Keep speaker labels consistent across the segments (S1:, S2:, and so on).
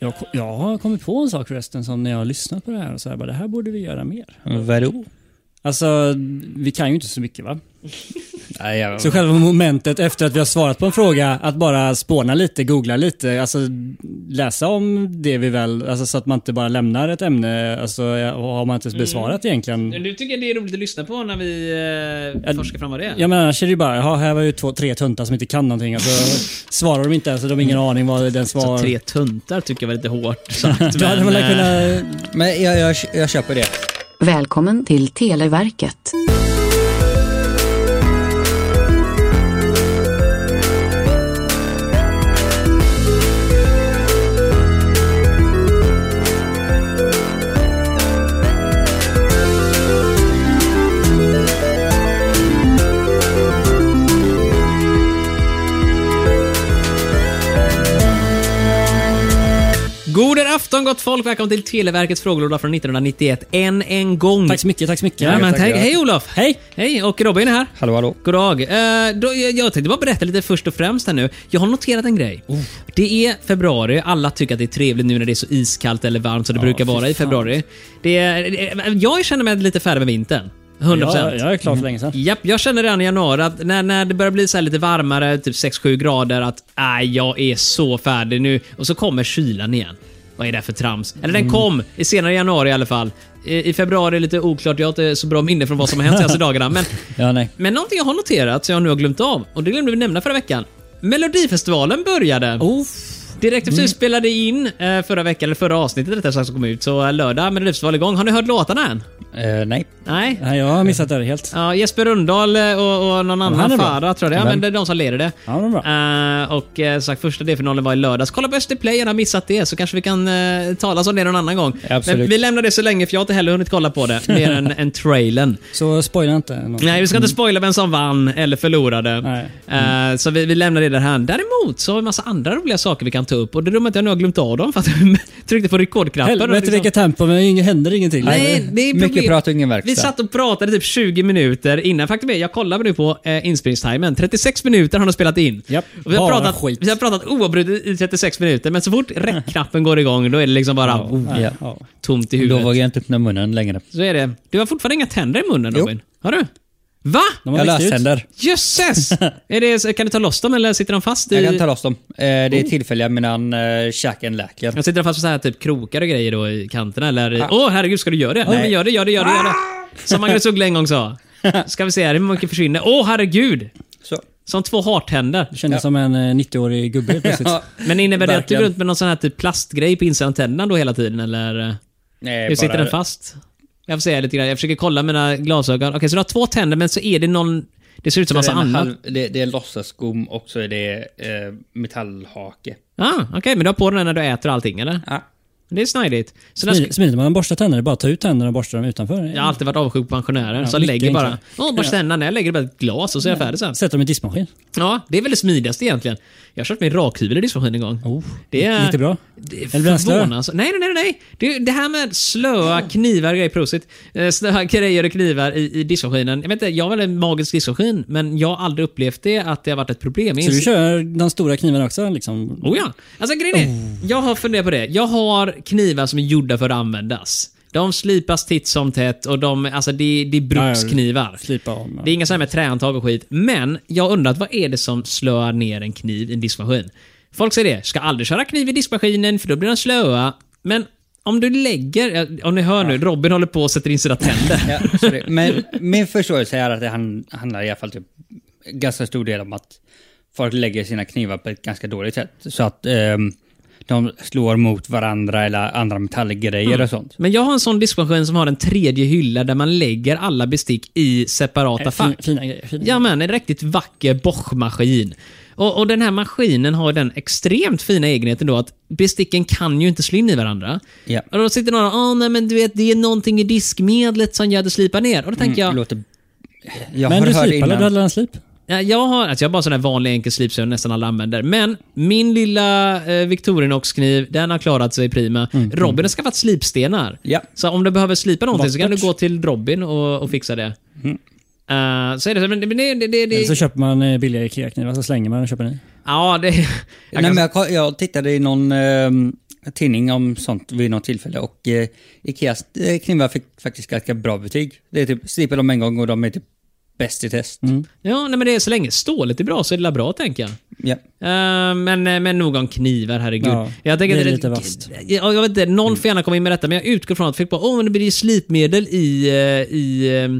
S1: Jag, ko- jag har kommit på en sak förresten som när jag har lyssnat på det här och så här, bara, det här borde vi göra mer.
S2: Vadå?
S1: Alltså, vi kan ju inte så mycket va?
S2: Nej, jag...
S1: Så själva momentet efter att vi har svarat på en fråga, att bara spåna lite, googla lite, alltså läsa om det vi väl, alltså så att man inte bara lämnar ett ämne, alltså ja, och har man inte ens
S3: Mm.
S1: besvarat egentligen.
S3: Nu tycker jag det är roligt att lyssna på när vi eh,
S1: Mm. Ja,
S3: forskar fram vad det är.
S1: Ja men annars är det ju bara, jaha här var ju två, tre tuntar som inte kan någonting. Alltså, svarar de inte ens, så de har ingen aning vad den
S3: Så
S1: svar...
S3: Mm. Alltså, tre tuntar tycker jag var lite hårt sagt.
S1: Då hade man väl
S3: men, eh,
S1: kunnat...
S2: Men jag, jag, jag köper det.
S4: Välkommen till Televerket.
S3: God afton gott folk! Välkommen till Televerkets frågelåda från 1991. Än en gång.
S1: Tack så mycket, tack så mycket.
S3: Ja, men
S2: tack,
S3: tack.
S2: ja.
S3: Hej Olof!
S1: Hej!
S3: Hej! Och Robin är här.
S2: Hallå, hallå.
S3: God dag. Eh, då, jag, jag tänkte bara berätta lite först och främst här nu. Jag har noterat en grej.
S1: Oh.
S3: Det är februari. Alla tycker att det är trevligt nu när det är så iskallt eller varmt som det brukar vara i februari. Det är, det- jag känner mig lite färdig med vintern. 100%.
S1: Jag, jag är klar för länge sedan.
S3: Japp, jag känner redan i januari att när, när det börjar bli så här lite varmare, typ 6-7 grader, att nej, jag är så färdig nu. Och så kommer kylan igen. Vad är det för trams? Eller den kom i senare i januari i alla fall. I, i februari är lite oklart, jag har inte så bra minne från vad som har hänt de senaste dagarna. Men,
S1: Ja, nej.
S3: men någonting jag har noterat som jag nu har glömt av, och det glömde vi nämna förra veckan. Melodifestivalen började.
S1: Oh.
S3: Direkt efter vi spelade in eh, förra veckan, eller förra avsnittet rättare sagt som kom ut, så eh, lördag, Melodifestivalen igång. Har ni hört låtarna än?
S2: Eh, nej.
S3: Nej?
S1: Nej, jag har missat det här helt.
S3: Ja, Jesper Rundahl eh, och, och någon
S1: han är
S3: annan
S1: bra.
S3: Farah tror jag det är. Ja, men det är de som leder det.
S1: Ja, de är bra.
S3: Eh, och eh, som sagt, första delfinalen var i lördags. Kolla på SD Play, har ni missat det så kanske vi kan uh, tala om det någon annan gång.
S2: Absolut.
S3: Men vi lämnar det så länge för jag har inte heller hunnit kolla på det. Mer än, än trailern.
S1: Så spoila inte. Något.
S3: Nej, vi ska inte spoila vem som vann eller förlorade.
S1: Mm. Nej. Mm.
S3: Eh, så vi, vi lämnar det där här. Däremot så har vi en massa andra roliga saker vi kan ta upp och det är dumt att jag nu har glömt av dem för att jag tryckte på rekordknappen. och
S1: Helvete
S3: liksom-
S1: vilket tempo, men det händer ingenting.
S3: Nej, det är
S2: Mycket
S3: problem.
S2: prat och ingen verkstad.
S3: Vi satt och pratade typ 20 minuter innan. Faktum är, jag kollade nu på eh, inspelningstimern. 36 minuter har de spelat in.
S1: Japp,
S3: Och vi, har
S1: bara
S3: pratat,
S1: skit.
S3: vi har pratat oavbrutet i 36 minuter, men så fort räckknappen går igång, då är det liksom bara oh,
S2: Ja.
S1: Ja.
S3: tomt i
S2: Då
S3: huvudet.
S2: vågar jag inte öppna munnen längre.
S3: Så är det. Du har fortfarande inga tänder i munnen Robin? Har du? Va?
S1: De har
S2: jag
S1: växt ut.
S2: löständer.
S3: Jösses! är det, kan du ta loss dem eller sitter de fast i...
S2: Jag kan ta loss dem. Eh, det är tillfälliga medan eh, käken läker.
S3: Jag sitter de fast på så här typ krokar och grejer då i kanterna eller... i- Åh herregud, ska du göra det? Nej. men gör det, gör det, gör det, gör det.
S2: Ah!
S3: Som Magnus Uggla en gång sa. Ska vi se här, hur mycket försvinner? Åh herregud!
S2: Så.
S3: Som två hartänder.
S1: Det kändes som en eh, 90-årig gubbe helt plötsligt.
S2: Ja.
S3: Men innebär det att du
S2: Verkligen.
S3: går runt med någon sån här typ plastgrej på insidan av tänderna då hela tiden eller? eh,
S2: Nej,
S3: Hur sitter
S2: bara-
S3: den fast? Jag får säga lite grann, jag försöker kolla mina glasögon. Okej, så du har två tänder men så är det någon... Det ser ut som
S2: Det
S3: massa
S2: är, en
S3: annat.
S2: halv, det, det är låtsasgom och så är det eh, metallhake.
S3: Ah, Okej, men du har på den när du äter och allting eller?
S2: Ja.
S3: Det är snidigt. Så när-
S1: Smidigt, smidigt, man borstar tänderna, bara ta ut tänderna och borsta dem utanför.
S3: Jag har alltid varit avundsjuk på pensionärer
S1: Ja,
S3: som
S1: mycket
S3: lägger bara...
S1: enklare.
S3: Åh, borsta tänderna. när Jag lägger bara ett glas och så är jag färdig sen.
S1: Sätta dem i diskmaskin.
S3: Ja, det är väl det smidigaste egentligen. Jag har kört min rakhyvel i diskmaskinen en gång.
S1: Oh,
S3: det är...
S1: Lite bra.
S3: Det är
S1: Eller blir den slö?
S3: förvånansvärt- Nej, nej, nej. nej. Det, det här med slöa knivar och grejer, prosit. Eh, Slöa grejer och knivar i, i diskmaskinen. Jag vet inte, jag har väl en magisk diskmaskin, men jag har aldrig upplevt det att det har varit ett problem. Jag
S1: Så du
S3: inser-
S1: kör de stora knivarna också liksom?
S3: Oh ja. Alltså grejen är, jag har funderat på det. Jag har knivar som är gjorda för att användas. De slipas titt som tätt och de, alltså det, det är bruksknivar.
S1: Slipa om.
S3: Det är inga sådana med trähandtag och skit. Men jag har undrat vad är det som slöar ner en kniv i en diskmaskin? Folk säger det, ska aldrig köra kniv i diskmaskinen för då blir den slöa. Men om du lägger, om ni hör nu, Robin håller på och sätter in sina tänder.
S2: Ja, sorry. Men min förståelse är att det han- handlar i alla fall typ ganska stor del om att folk lägger sina knivar på ett ganska dåligt sätt. Så att ehm, de slår mot varandra eller andra metallgrejer och sånt.
S3: Men jag har en sån diskmaskin som har en tredje hylla där man lägger alla bestick i separata fack.
S1: Fin, fina grejer. Fina.
S3: Ja men en riktigt vacker Bosch-maskin. Och, och den här maskinen har den extremt fina egenheten då att besticken kan ju inte slå in i varandra.
S2: Ja.
S3: Och då sitter någon och "Ah, nej men du vet det är någonting i diskmedlet som gör det slipar ner. Och då tänker
S2: Det
S3: jag,
S2: låter... Jag
S1: Men
S2: har
S1: du
S2: hört det
S1: slipade,
S2: innan.
S1: du hade en slip?
S3: ja, jag har, alltså jag har bara sån här vanlig enkel slip som jag nästan alla använder. Men min lilla eh, Victorinox-kniv, den har klarat sig prima. Robin har skaffat slipstenar.
S2: Ja.
S3: Så om du behöver slipa någonting så kan du
S1: Vackert.
S3: gå till Robin och, och fixa det. Eh, så är det så, men men det... det, det,
S1: Eller så
S3: det
S1: köper man eh, billiga IKEA-knivar, så slänger man den och köper en ny.
S3: ja, det...
S2: Nej, men jag, jag tittade i någon ehm, tidning om sånt vid något tillfälle och eh, Ikeas eh, knivar fick faktiskt ganska bra betyg. Det är typ, slipar dem en gång och de är typ bäst i test.
S3: Ja, nej, men det är så länge stålet är bra så är det la bra, tänker jag.
S2: Ja.
S3: Eh, men, men nog om knivar, herregud.
S1: Ja,
S3: jag tänker
S1: det är
S3: att
S1: lite vasst. Mm.
S3: Jag, jag vet inte, någon får gärna komma in med detta, men jag utgår från att folk bara åh, men det blir ju slipmedel i, eh, i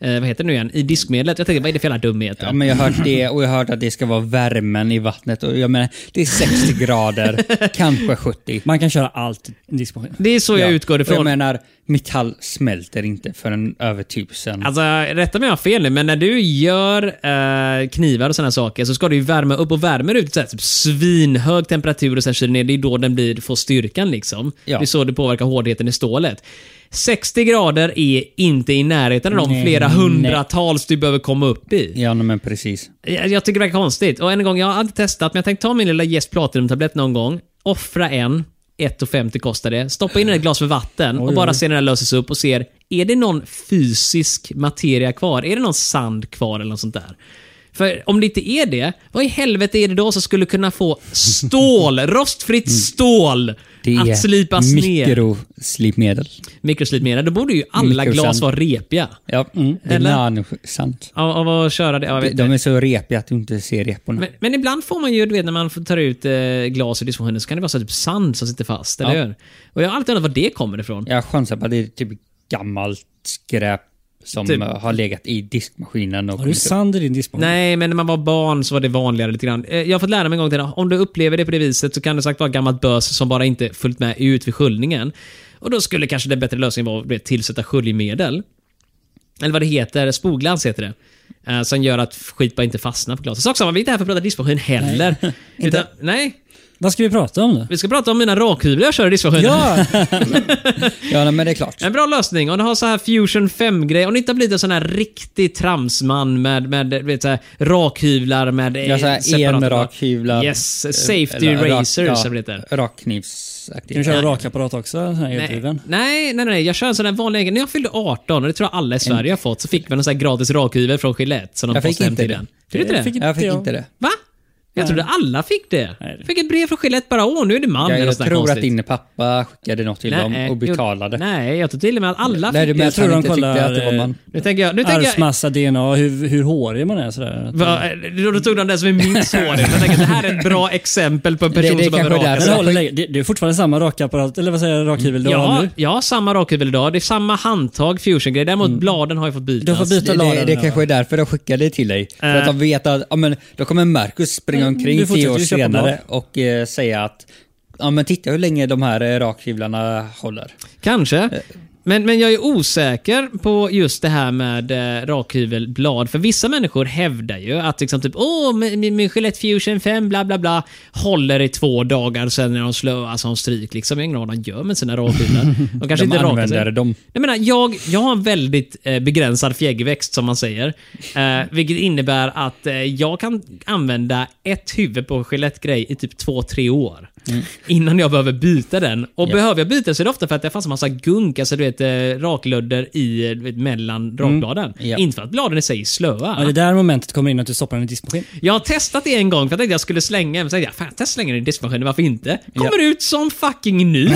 S3: eh, vad heter det nu igen, i diskmedlet. Jag tänker, vad är det för jävla dumheter?
S2: Ja, men jag har hört det och jag har hört att det ska vara värmen i vattnet och jag menar, det är 60 grader, kanske 70.
S1: Man kan köra allt i diskmaskinen.
S3: Det är så jag
S2: Ja.
S3: utgår
S2: Och Jag
S3: ifrån.
S2: menar, metall smälter inte förrän över tusen.
S3: Alltså, rätta mig om jag har fel nu, men när du gör eh, knivar och sådana saker så ska du ju värma upp och värma ut så här, typ svinhög temperatur och sen kyler ner. Det är då den blir, får styrkan liksom.
S2: Ja.
S3: Det är så det påverkar hårdheten i stålet. 60 grader är inte i närheten av de
S2: Nej,
S3: flera
S2: nej.
S3: hundratals du behöver komma upp i.
S2: Ja, men precis.
S3: Jag, Eh, jag tycker det verkar konstigt. Och än en gång, jag har aldrig testat, men jag tänkte ta min lilla Yes Platinum-tablett någon gång, offra en, 1,50 kostar det, stoppa in i ett glas med vatten och bara se när den löses upp och ser, är det någon fysisk materia kvar? Är det någon sand kvar eller något sånt där? För om det inte är det, vad i helvete är det då som skulle kunna få stål, rostfritt stål,
S2: Mm. Det
S3: att slipas
S2: är
S3: ner?
S2: mikroslipmedel.
S3: Mikroslipmedel. Då borde ju alla
S2: Mikrosand.
S3: glas vara repiga.
S2: Ja, mm, det är
S3: Eller?
S2: nanosant.
S3: Av, av att köra det? Ja, jag vet
S2: De, de är så repiga att du inte ser reporna.
S3: Men, men ibland får man ju, du vet när man får- tar ut eh, glas ur diskmaskinen så kan det vara så här typ sand som sitter fast, eller
S2: Ja.
S3: hur? Och jag har alltid undrat var det kommer ifrån.
S2: Jag chansar på att det är typ gammalt skräp som
S3: Typ.
S2: eh, har legat i diskmaskinen. Och
S1: Har du sand i din diskmaskin?
S3: Nej, men när man var barn så var det vanligare lite grann. Eh, Jag har fått lära mig en gång till om du upplever det på det viset så kan det sagt vara gammalt bös som bara inte följt med ut vid sköljningen. Och då skulle kanske den bättre lösningen vara att du vet, tillsätta sköljmedel. Eller vad det heter, spoglans heter det. Eh, Som gör att skit bara inte fastnar på glaset. Sak samma, vi är inte här för att prata diskmaskin heller. Nej. Utan, nej,
S1: Vad ska vi prata om då?
S3: vi ska prata om mina rakhyvlar jag kör i diskmaskinen.
S1: Ja!
S2: Ja, nej, men det är klart.
S3: En bra lösning. Om du har så här Fusion 5-grej. Om du inte har blivit en sån här riktig tramsman med, med du vet, så här, rakhyvlar med... eh,
S2: Jag har
S3: separata
S2: en Eh,
S3: blad.
S2: rak hyvla.
S3: Yes, safety razor, som det heter.
S1: Kan du
S2: Rakknivsaktigt.
S1: köra rakapparat också? Sån här
S3: Nej,
S1: eldriven?
S3: nej, nej, nej. Jag kör en sån här vanlig egen. När jag fyllde 18, och det tror jag alla i Sverige har fått, så fick man en sån här gratis rakhyvel från Gillette. Som de
S2: Jag fick
S3: postade hem
S2: inte
S3: till
S2: det.
S3: den. Fick du inte det?
S1: fick
S2: Jag fick
S1: jag.
S2: inte det.
S3: Va? Jag trodde alla fick det.
S1: Nej, det-
S3: Fick ett brev från Gillette bara, åh, nu är det man.
S2: Jag,
S3: eller
S2: jag
S3: något sånt där
S2: tror att
S3: konstigt.
S2: din pappa skickade något till dem och betalade.
S3: Jo, nej, jag tror till och med att alla fick
S2: Nej,
S3: det.
S2: men jag
S1: tror
S2: tror
S1: de
S2: de inte
S1: kollar,
S2: tyckte att det var
S1: eh,
S2: man.
S3: Nu tänker jag... Nu tänker jag
S1: Arvsmassa, DNA, hur, hur hårig man är sådär.
S3: Va, då då tog de den som är minst hårig. Jag tänker att det här är ett bra exempel på en person
S2: Det- det
S3: som behöver
S2: kanske är
S1: Men
S3: raka
S2: därför.
S3: sig.
S1: håller länge. Det, det är fortfarande samma rakapparat, eller vad säger jag, rakhyvel du har
S3: Mm, Ja,
S1: nu?
S3: jag har samma rakhyvel idag. Det är samma handtag, fusion-grej. Däremot bladen har jag fått bytas.
S1: Du har fått byta
S2: Det,
S1: ladan.
S2: det, det
S1: nu, Eh.
S2: kanske är därför de skickade det till dig. För att de vet att ja, men, då kommer Marcus springa
S1: Mm, du
S2: omkring tio
S1: fortsätter
S2: år
S1: ju köpa
S2: senare och eh, säga att ja, men titta hur länge de här eh, rakhyvlarna håller.
S3: Kanske. Men, men jag är osäker på just det här med eh, rakhyvelblad. För vissa människor hävdar ju att liksom typ åh, min, min, min Gillette Fusion 5 bla bla bla håller i två dagar sen är de slöa som stryk. Liksom. Jag har ingen aning vad de gör med sina rakhyvlar. De kanske
S2: De
S3: inte rakar sig.
S2: använder dem.
S3: Jag menar, jag, jag har en väldigt eh, begränsad fjäggväxt som man säger. Eh, vilket innebär att eh, jag kan använda ett huvud på Gillette-grej i typ två, tre år.
S1: Mm.
S3: Innan jag behöver byta den. Och behöver jag byta så är det ofta för att det fanns en massa gunk, alltså du vet eh, raklödder i, eh, du vet, mellan rakbladen.
S2: Ja.
S3: Inte för att bladen i sig är slöa.
S1: Mm. Ja, det är där momentet kommer in att du stoppar den i diskmaskin.
S3: Jag har testat det en gång för jag tänkte jag skulle slänga den. Så tänkte jag, fan testa slänga den i diskmaskinen, varför inte? Kommer ut som fucking ny.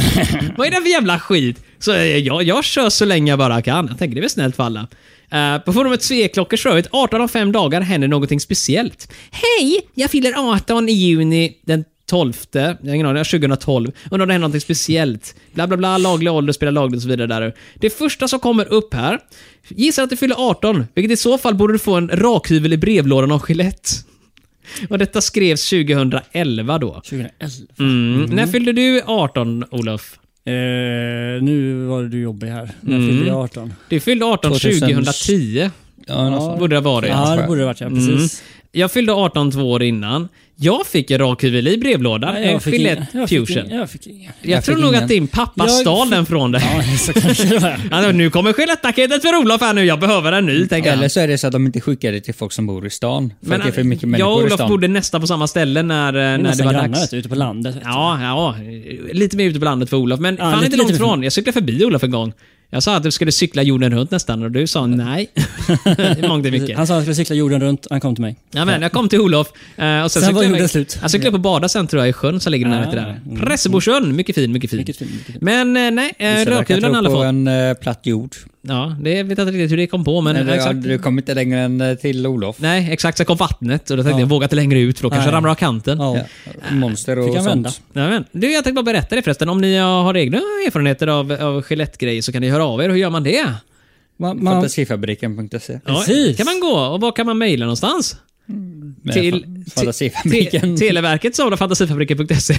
S3: Vad är det för jävla skit? Så eh, jag, jag kör så länge jag bara kan. Jag tänker det är väl snällt för alla. Eh, på forumet Sveklockers för övrigt, 18 av 5 dagar händer någonting speciellt. Hej! Jag fyller 18 i juni den 12, jag har ingen aning, 2012. Undrar om det händer någonting speciellt. Bla bla bla, laglig ålder, spela lagligt och så vidare. Där. Det första som kommer upp här, gissar att du fyller 18, vilket i så fall borde du få en rakhyvel i brevlådan av Gillette. Och detta skrevs 2011 då.
S1: 2011.
S3: Mm. När fyllde du 18, Olof?
S1: Eh, nu var du jobbig här. När
S3: Mm.
S1: fyllde jag 18?
S3: Du fyllde 18
S2: 2000.
S3: 2010.
S2: Ja, något sånt.
S3: Borde det ha varit.
S1: Ja, det borde det varit ja. Precis.
S3: Jag fyllde 18 två år innan. Jag fick en rakhyvel i brevlådan.
S1: Nej,
S3: en
S1: inga-
S3: Gillette
S1: jag fick
S3: Fusion.
S1: inga- Jag fick inga.
S3: jag,
S2: jag
S3: tror
S2: fick
S3: nog
S2: ingen.
S3: att din pappa
S1: Jag
S3: stal
S1: fick-
S3: den från dig.
S1: Ja, så kanske det var.
S3: Han sa, nu kommer Gillette-paketet för Olof här nu. Jag behöver en ny, tänker han.
S2: Eller så är det så att de inte skickar det till folk som bor i stan. För att det är för mycket
S3: jag och
S2: människor i
S3: Olof
S2: stan.
S3: bodde nästan på samma ställe när, eh, när det
S1: Nästan
S3: var
S1: grannar typ.
S3: dags.
S1: vet du, ute på landet. vet du.
S3: Ja, ja, lite mer ute på landet för Olof. Men fan
S1: lite-
S3: inte långt
S1: lite-
S3: ifrån. Jag cyklade förbi Olof en gång. Jag sa att du skulle cykla jorden runt nästan och du sa nej. Det är Mångt och mycket.
S1: Han sa att han skulle cykla jorden runt, han kom till mig.
S3: Ja, men jag kom till Olof. eh, Och sen
S1: Sen var
S3: cyklade jag-
S1: jorden slut. mm.
S3: Jag cyklade på Bada sen tror jag, i sjön som ligger i närheten där. Pressebosjön. Mycket fin, mycket fin.
S1: Mycket fin, mycket fin.
S3: Men eh, nej, eh,
S2: Vissa verkar
S3: rödkulan i
S2: tro
S3: alla
S2: på
S3: fall.
S2: en eh, platt jord.
S3: Ja, det vet jag inte riktigt hur det kom på, men
S2: Eller, ja,
S3: exakt.
S2: du kom inte längre än eh, till Olof.
S3: Nej, exakt. Sen kom vattnet och då tänkte jag, våga inte längre ut för då kanske
S1: Nej.
S3: jag ramlar av kanten.
S1: Ja.
S2: Ja.
S3: Äh,
S2: Monster och
S1: Fick han vända?
S2: sånt.
S3: Jajamän. Du, jag tänkte bara berätta det förresten. Om ni har egna erfarenheter av, av Skelettgrejer så kan ni höra av er. Hur gör man det?
S1: Man, man,
S2: Fantasifabriken.se.
S3: Ja,
S1: Precis. Mm.
S3: kan man gå och var kan man mejla någonstans?
S2: Men
S3: Till-
S2: fa- Fantasifabriken.
S3: Te- Televerket sa fantasifabriken.se.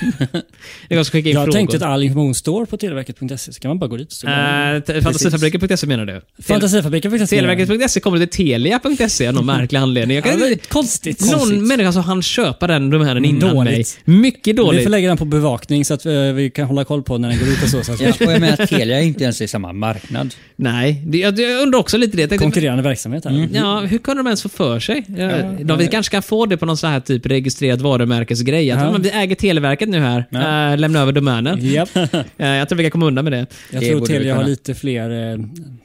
S3: Det går att E. skicka in
S1: jag
S3: frågor.
S1: tänkte att all information står på televerket.se, E, så kan man bara gå dit. Så
S3: Eh, te- Fantasifabriken.se menar du? Tel-
S1: Fantasifabriken fick jag se.
S3: Televerket.se E, kommer till Telia.se E av någon märklig anledning. Jag
S1: Ja,
S3: kan
S1: det är
S3: inte...
S1: konstigt.
S3: Någon människa som han köpa den domänen innan
S1: Dåligt.
S3: mig. Mycket
S1: Vi
S3: dåligt.
S1: får lägga den på bevakning så att vi, vi kan hålla koll på när den går ut och så. så att
S2: Ja, och jag menar, Telia är inte ens i samma marknad.
S3: Nej, det, jag, jag undrar också lite det. Jag tänkte,
S1: Konkurrerande verksamhet här.
S3: Ja, hur kunde de ens få för sig? Ja, de, vi kanske kan få det på någon sån här typ registrerat varumärkesgrej. Att,
S1: Ja.
S3: men vi äger Televerket nu här. Eh, lämna över domänen.
S1: Japp.
S3: Eh, jag tror vi kan komma undan med det.
S1: Jag
S2: Det
S1: tror
S2: borde vi
S1: Telia har
S2: kunna.
S1: lite fler eh,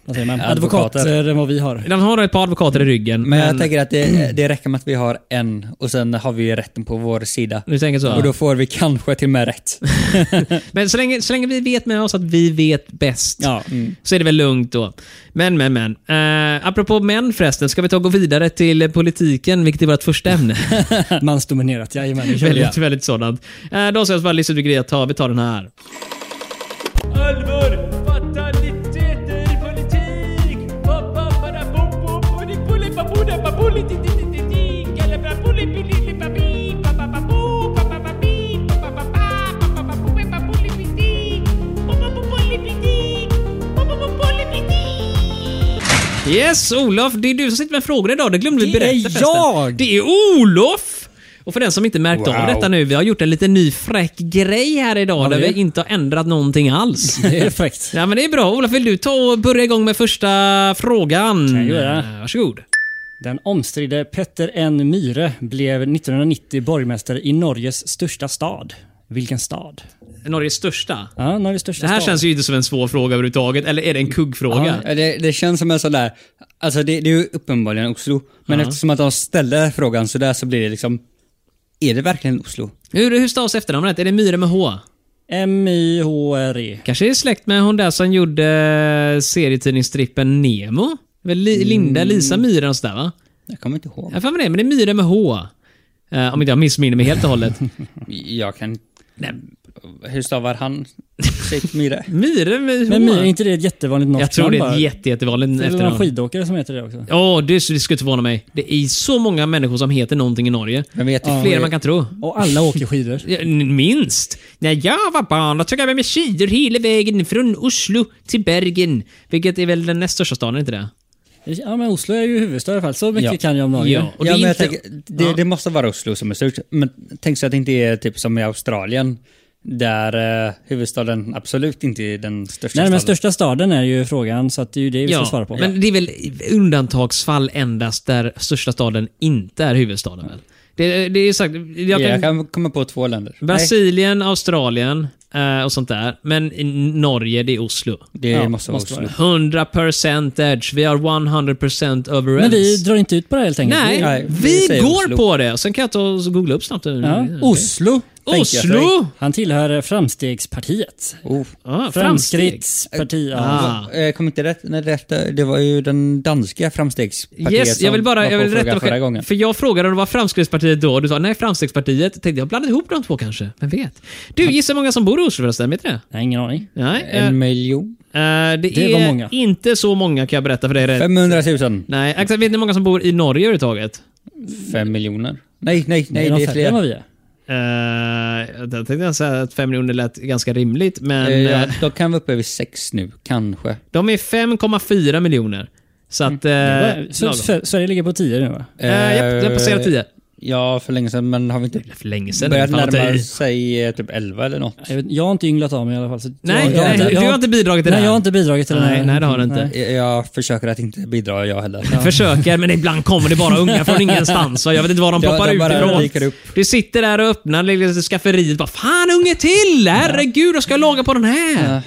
S1: vad säger man,
S2: Advokater.
S1: advokater. än vad vi har.
S3: De har ett par advokater i ryggen.
S2: Men jag tänker att det, det räcker med att vi har en och sen har vi rätten på vår sida.
S3: Du tänker så?
S2: Och då får vi kanske till och med rätt.
S3: Men så länge, så länge vi vet med oss att vi vet bäst,
S1: Ja.
S2: Mm.
S3: så är det väl lugnt då. Men, men, men. Uh, apropå män förresten, ska vi ta och gå vidare till politiken, vilket är vårt första ämne.
S1: Mansdominerat, jajamän. det kör vi.
S3: väldigt, väldigt sådant. Eh, då ska jag bara lyssna till grejer att ta. Vi tar den här.
S5: Allvar, fataliteter, politik! Pappa, para, bom, bom, poli, poli, babuna, babuli, ti, ti, ti, ti, ti, kalla, bra, poli, pili, li, babi, pa, pa, pa, bu, pa, pa, pa, bi, pa, pa, pa, pa, pa, pa, pa, bu, pe, pa, poli, piti, bu, bu, bu, poli, piti, bu, bu, bu, poli, piti.
S3: Yes, Olof, det är du som sitter med frågor idag. Det glömde vi
S1: Det är
S3: berätta förresten.
S1: jag!
S3: Det är Olof! Och för den som inte märkt av
S2: Wow.
S3: detta nu, vi har gjort en liten ny fräck grej här idag där
S1: det?
S3: vi inte har ändrat någonting alls.
S1: Det är fräckt.
S3: Ja, men det är bra. Olof, vill du ta och börja igång med första frågan? Eh,
S1: Kan jag göra.
S3: Varsågod.
S1: Den omstridde Petter N. Myhre blev 1990 borgmästare i Norges största stad. Vilken stad?
S3: Norges största?
S1: Ja, Norges största
S3: Det här
S1: stad.
S3: känns ju inte som en svår fråga överhuvudtaget, eller är det en kuggfråga?
S2: Ja, det, det känns som en sån där, alltså det, det är ju uppenbarligen Oslo, men eftersom att de ställde frågan så där så blir det liksom, är det verkligen Oslo?
S3: Hur, hur stavas efternamnet? Är det Myre med H?
S1: M-Y-H-R-E.
S3: Kanske är släkt med hon där som gjorde eh, serietidningsstrippen Nemo? Väl Li-
S1: Mm.
S3: Linda, Lisa Myre någonstans där va?
S2: Jag kommer inte ihåg.
S3: Jag har för mig det, men det är Myre med H. Eh, om inte jag missminner mig helt och hållet.
S2: Jag kan... Nej. Hur stavar han sitt myre?
S3: Myre med H.
S1: Men Myhre, är inte det ett jättevanligt norskt
S3: jag tror det
S1: namn
S3: är
S1: bara?
S3: ett jätte, jättevanligt
S1: Det är väl någon
S3: efternamn.
S1: skidåkare som heter det också?
S3: Ja, det, det skulle inte förvåna mig. Det är så många människor som heter någonting i Norge.
S2: Men vet du
S3: Fler än man kan tro.
S1: Och alla åker skidor.
S3: Ja, n- Minst. När jag var barn då tog jag med mig skidor hela vägen från Oslo till Bergen. Vilket är väl den näst största staden, är inte det?
S1: Ja, men Oslo är ju huvudstad i alla fall. Så mycket
S2: Ja.
S1: kan jag om Norge.
S3: Ja. Och det
S2: ja,
S3: är
S2: men jag
S3: inte-
S2: tänker, det, det måste vara Oslo som är störst. Men tänk så att det inte är typ som i Australien, där eh, huvudstaden absolut inte är den största
S1: Nej, men
S2: staden.
S1: största staden är ju frågan, så att det är ju det vi ska svara på.
S3: men det är väl undantagsfall endast där största staden inte är huvudstaden väl? Det, det är ju sagt, jag
S2: Jag
S3: kan,
S2: kan komma på två länder. Nej,
S3: Brasilien, Australien eh, och sånt där. Men i Norge, det är Oslo.
S2: det
S1: Ja,
S2: måste vara
S1: måste
S2: Oslo.
S1: vara
S3: 100% edge. Vi har 100% overens.
S1: Men vi drar inte ut på det här helt enkelt.
S3: Nej,
S2: Nej,
S3: vi,
S2: vi säger
S3: går
S2: Oslo.
S3: på det. Och Sen kan jag ta och googla upp snabbt.
S1: Ja.
S3: Mm, Okej.
S1: Oslo. tänker jag.
S3: Oslo!
S1: Han tillhör Framstegspartiet.
S2: Oh.
S1: Ah,
S3: Ja, framsteg.
S1: Framskrittsparti. Ja.
S3: Ah.
S2: Eh, Kom inte rätt? Nej, rätt, det var ju den danska framstegspartiet
S3: Yes,
S2: som
S3: jag vill bara
S2: var
S3: jag
S2: på
S3: vill
S2: fråga
S3: rätta mig
S2: förra
S3: själv.
S2: gången.
S3: För jag frågade om det var Framstegspartiet då och du sa nej, Framstegspartiet. Tänkte jag blandade ihop de två kanske. Vem vet? Du, gissa hur många som bor i Oslo förresten? Vet du det?
S1: Nej, ingen aning.
S3: Nej. eh,
S2: En miljon?
S3: eh, det,
S1: det var
S3: är
S1: många.
S3: inte så många kan jag berätta för dig. Rätt.
S2: 500 000?
S3: Nej, exakt. Vet ni hur många som bor i Norge överhuvudtaget?
S2: Fem miljoner? Nej, nej, nej,
S1: de
S2: det är
S1: färre än
S2: fler.
S1: vad vi är.
S3: Uh, jag tänkte jag säga att fem miljoner lät ganska rimligt, men
S2: Eh, Ja,
S3: eh,
S2: då kan vi upp över sex nu, kanske.
S3: de är 5,4 miljoner. Så att... eh,
S2: Mm.
S1: Så,
S3: lagom.
S1: Sve- Sverige ligger på 10 nu va?
S3: Eh, japp, den passerar 10.
S2: Ja, för länge sedan, men har vi inte
S3: För länge sedan.
S2: börjat
S3: Fan, vad tar
S2: närma
S3: i.
S2: sig eh, typ 11 eller något?
S1: Jag, vet, jag har inte ynglat av mig i alla fall. Så
S3: Nej,
S1: jag, jag,
S3: nej,
S1: jag,
S3: du har inte bidragit till det
S1: Nej,
S3: här.
S1: jag har inte bidragit till den
S3: Nej,
S1: här.
S3: nej, det har du inte.
S2: Eh, Jag försöker att inte bidra jag heller.
S3: Försöker, men ibland kommer det bara unga från ingenstans. va? Jag vet inte var de
S2: Ja,
S3: poppar
S2: de
S3: ut
S2: bara
S3: ifrån.
S2: dyker upp.
S3: Du sitter där och öppnar lilla skafferiet. Bara, Fan, unge till! Herregud, jag ska laga på den här.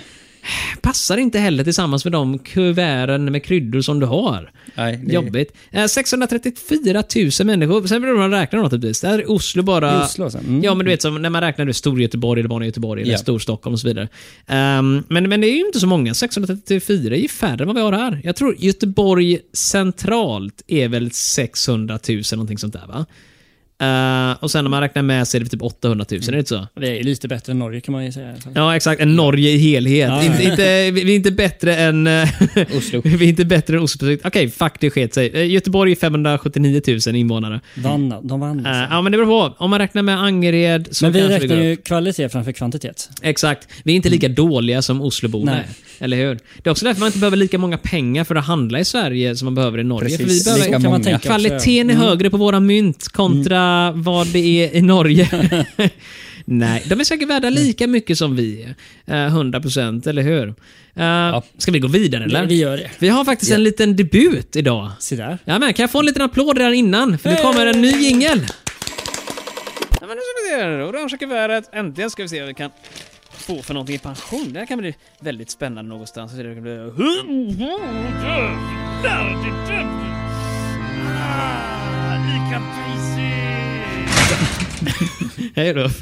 S3: passar inte heller tillsammans med de kuverten med kryddor som du har.
S2: Nej, det-
S3: Jobbigt. Eh, 634 000 människor. Sen behöver man räkna dem naturligtvis. Där är Oslo bara...
S1: I Oslo sen, mm.
S3: Ja, men du vet som när man räknar Stor-Göteborg eller barn i Göteborg eller
S2: Ja.
S3: Storstockholm och så vidare. Ehm, men, men det är ju inte så många. 634 är ju färre än vad vi har här. Jag tror Göteborg centralt är väl 600 000 någonting sånt där va? Eh, och sen om man räknar med sig är det typ 800 000, är det inte så?
S1: Det är lite bättre än Norge kan man ju säga.
S3: Ja, exakt. En Norge i helhet.
S1: Ja.
S3: Inte, inte, vi vi är inte bättre än... eh,
S2: Oslo.
S3: vi är inte bättre än Oslo. Okej, fuck, det sket sig. Eh, Göteborg är 579 000 invånare.
S1: Vann, de vann. alltså.
S3: Eh, ja, men det beror på. Om man räknar med Angered så
S1: Mm. Men vi
S3: kanske det
S1: räknar
S3: går upp.
S1: ju kvalitet framför kvantitet.
S3: Exakt. Vi är inte lika dåliga som Osloborna
S1: Nej.
S3: är. Eller hur? Det är också därför man inte behöver lika många pengar för att handla i Sverige som man behöver i Norge.
S2: Precis.
S3: För vi behöver...
S1: Så kan
S2: många.
S1: man tänka också, ja.
S3: Kvaliteten är högre på våra mynt kontra vad det är i Norge. Nej, de är säkert värda lika mycket som vi är. Eh, 100% eller hur? Eh, Ska vi gå vidare eller?
S1: Vi gör det.
S3: Vi har faktiskt en liten debut idag.
S1: Se där.
S3: Ja, men kan jag få en liten applåd redan innan? För nu kommer en ny jingel. Ja, men nu ska vi se här. Orangea kuvertet. Äntligen ska vi se vad vi kan få för någonting i pension. Det här kan bli väldigt spännande någonstans. Det kan bli... Hej Ruff.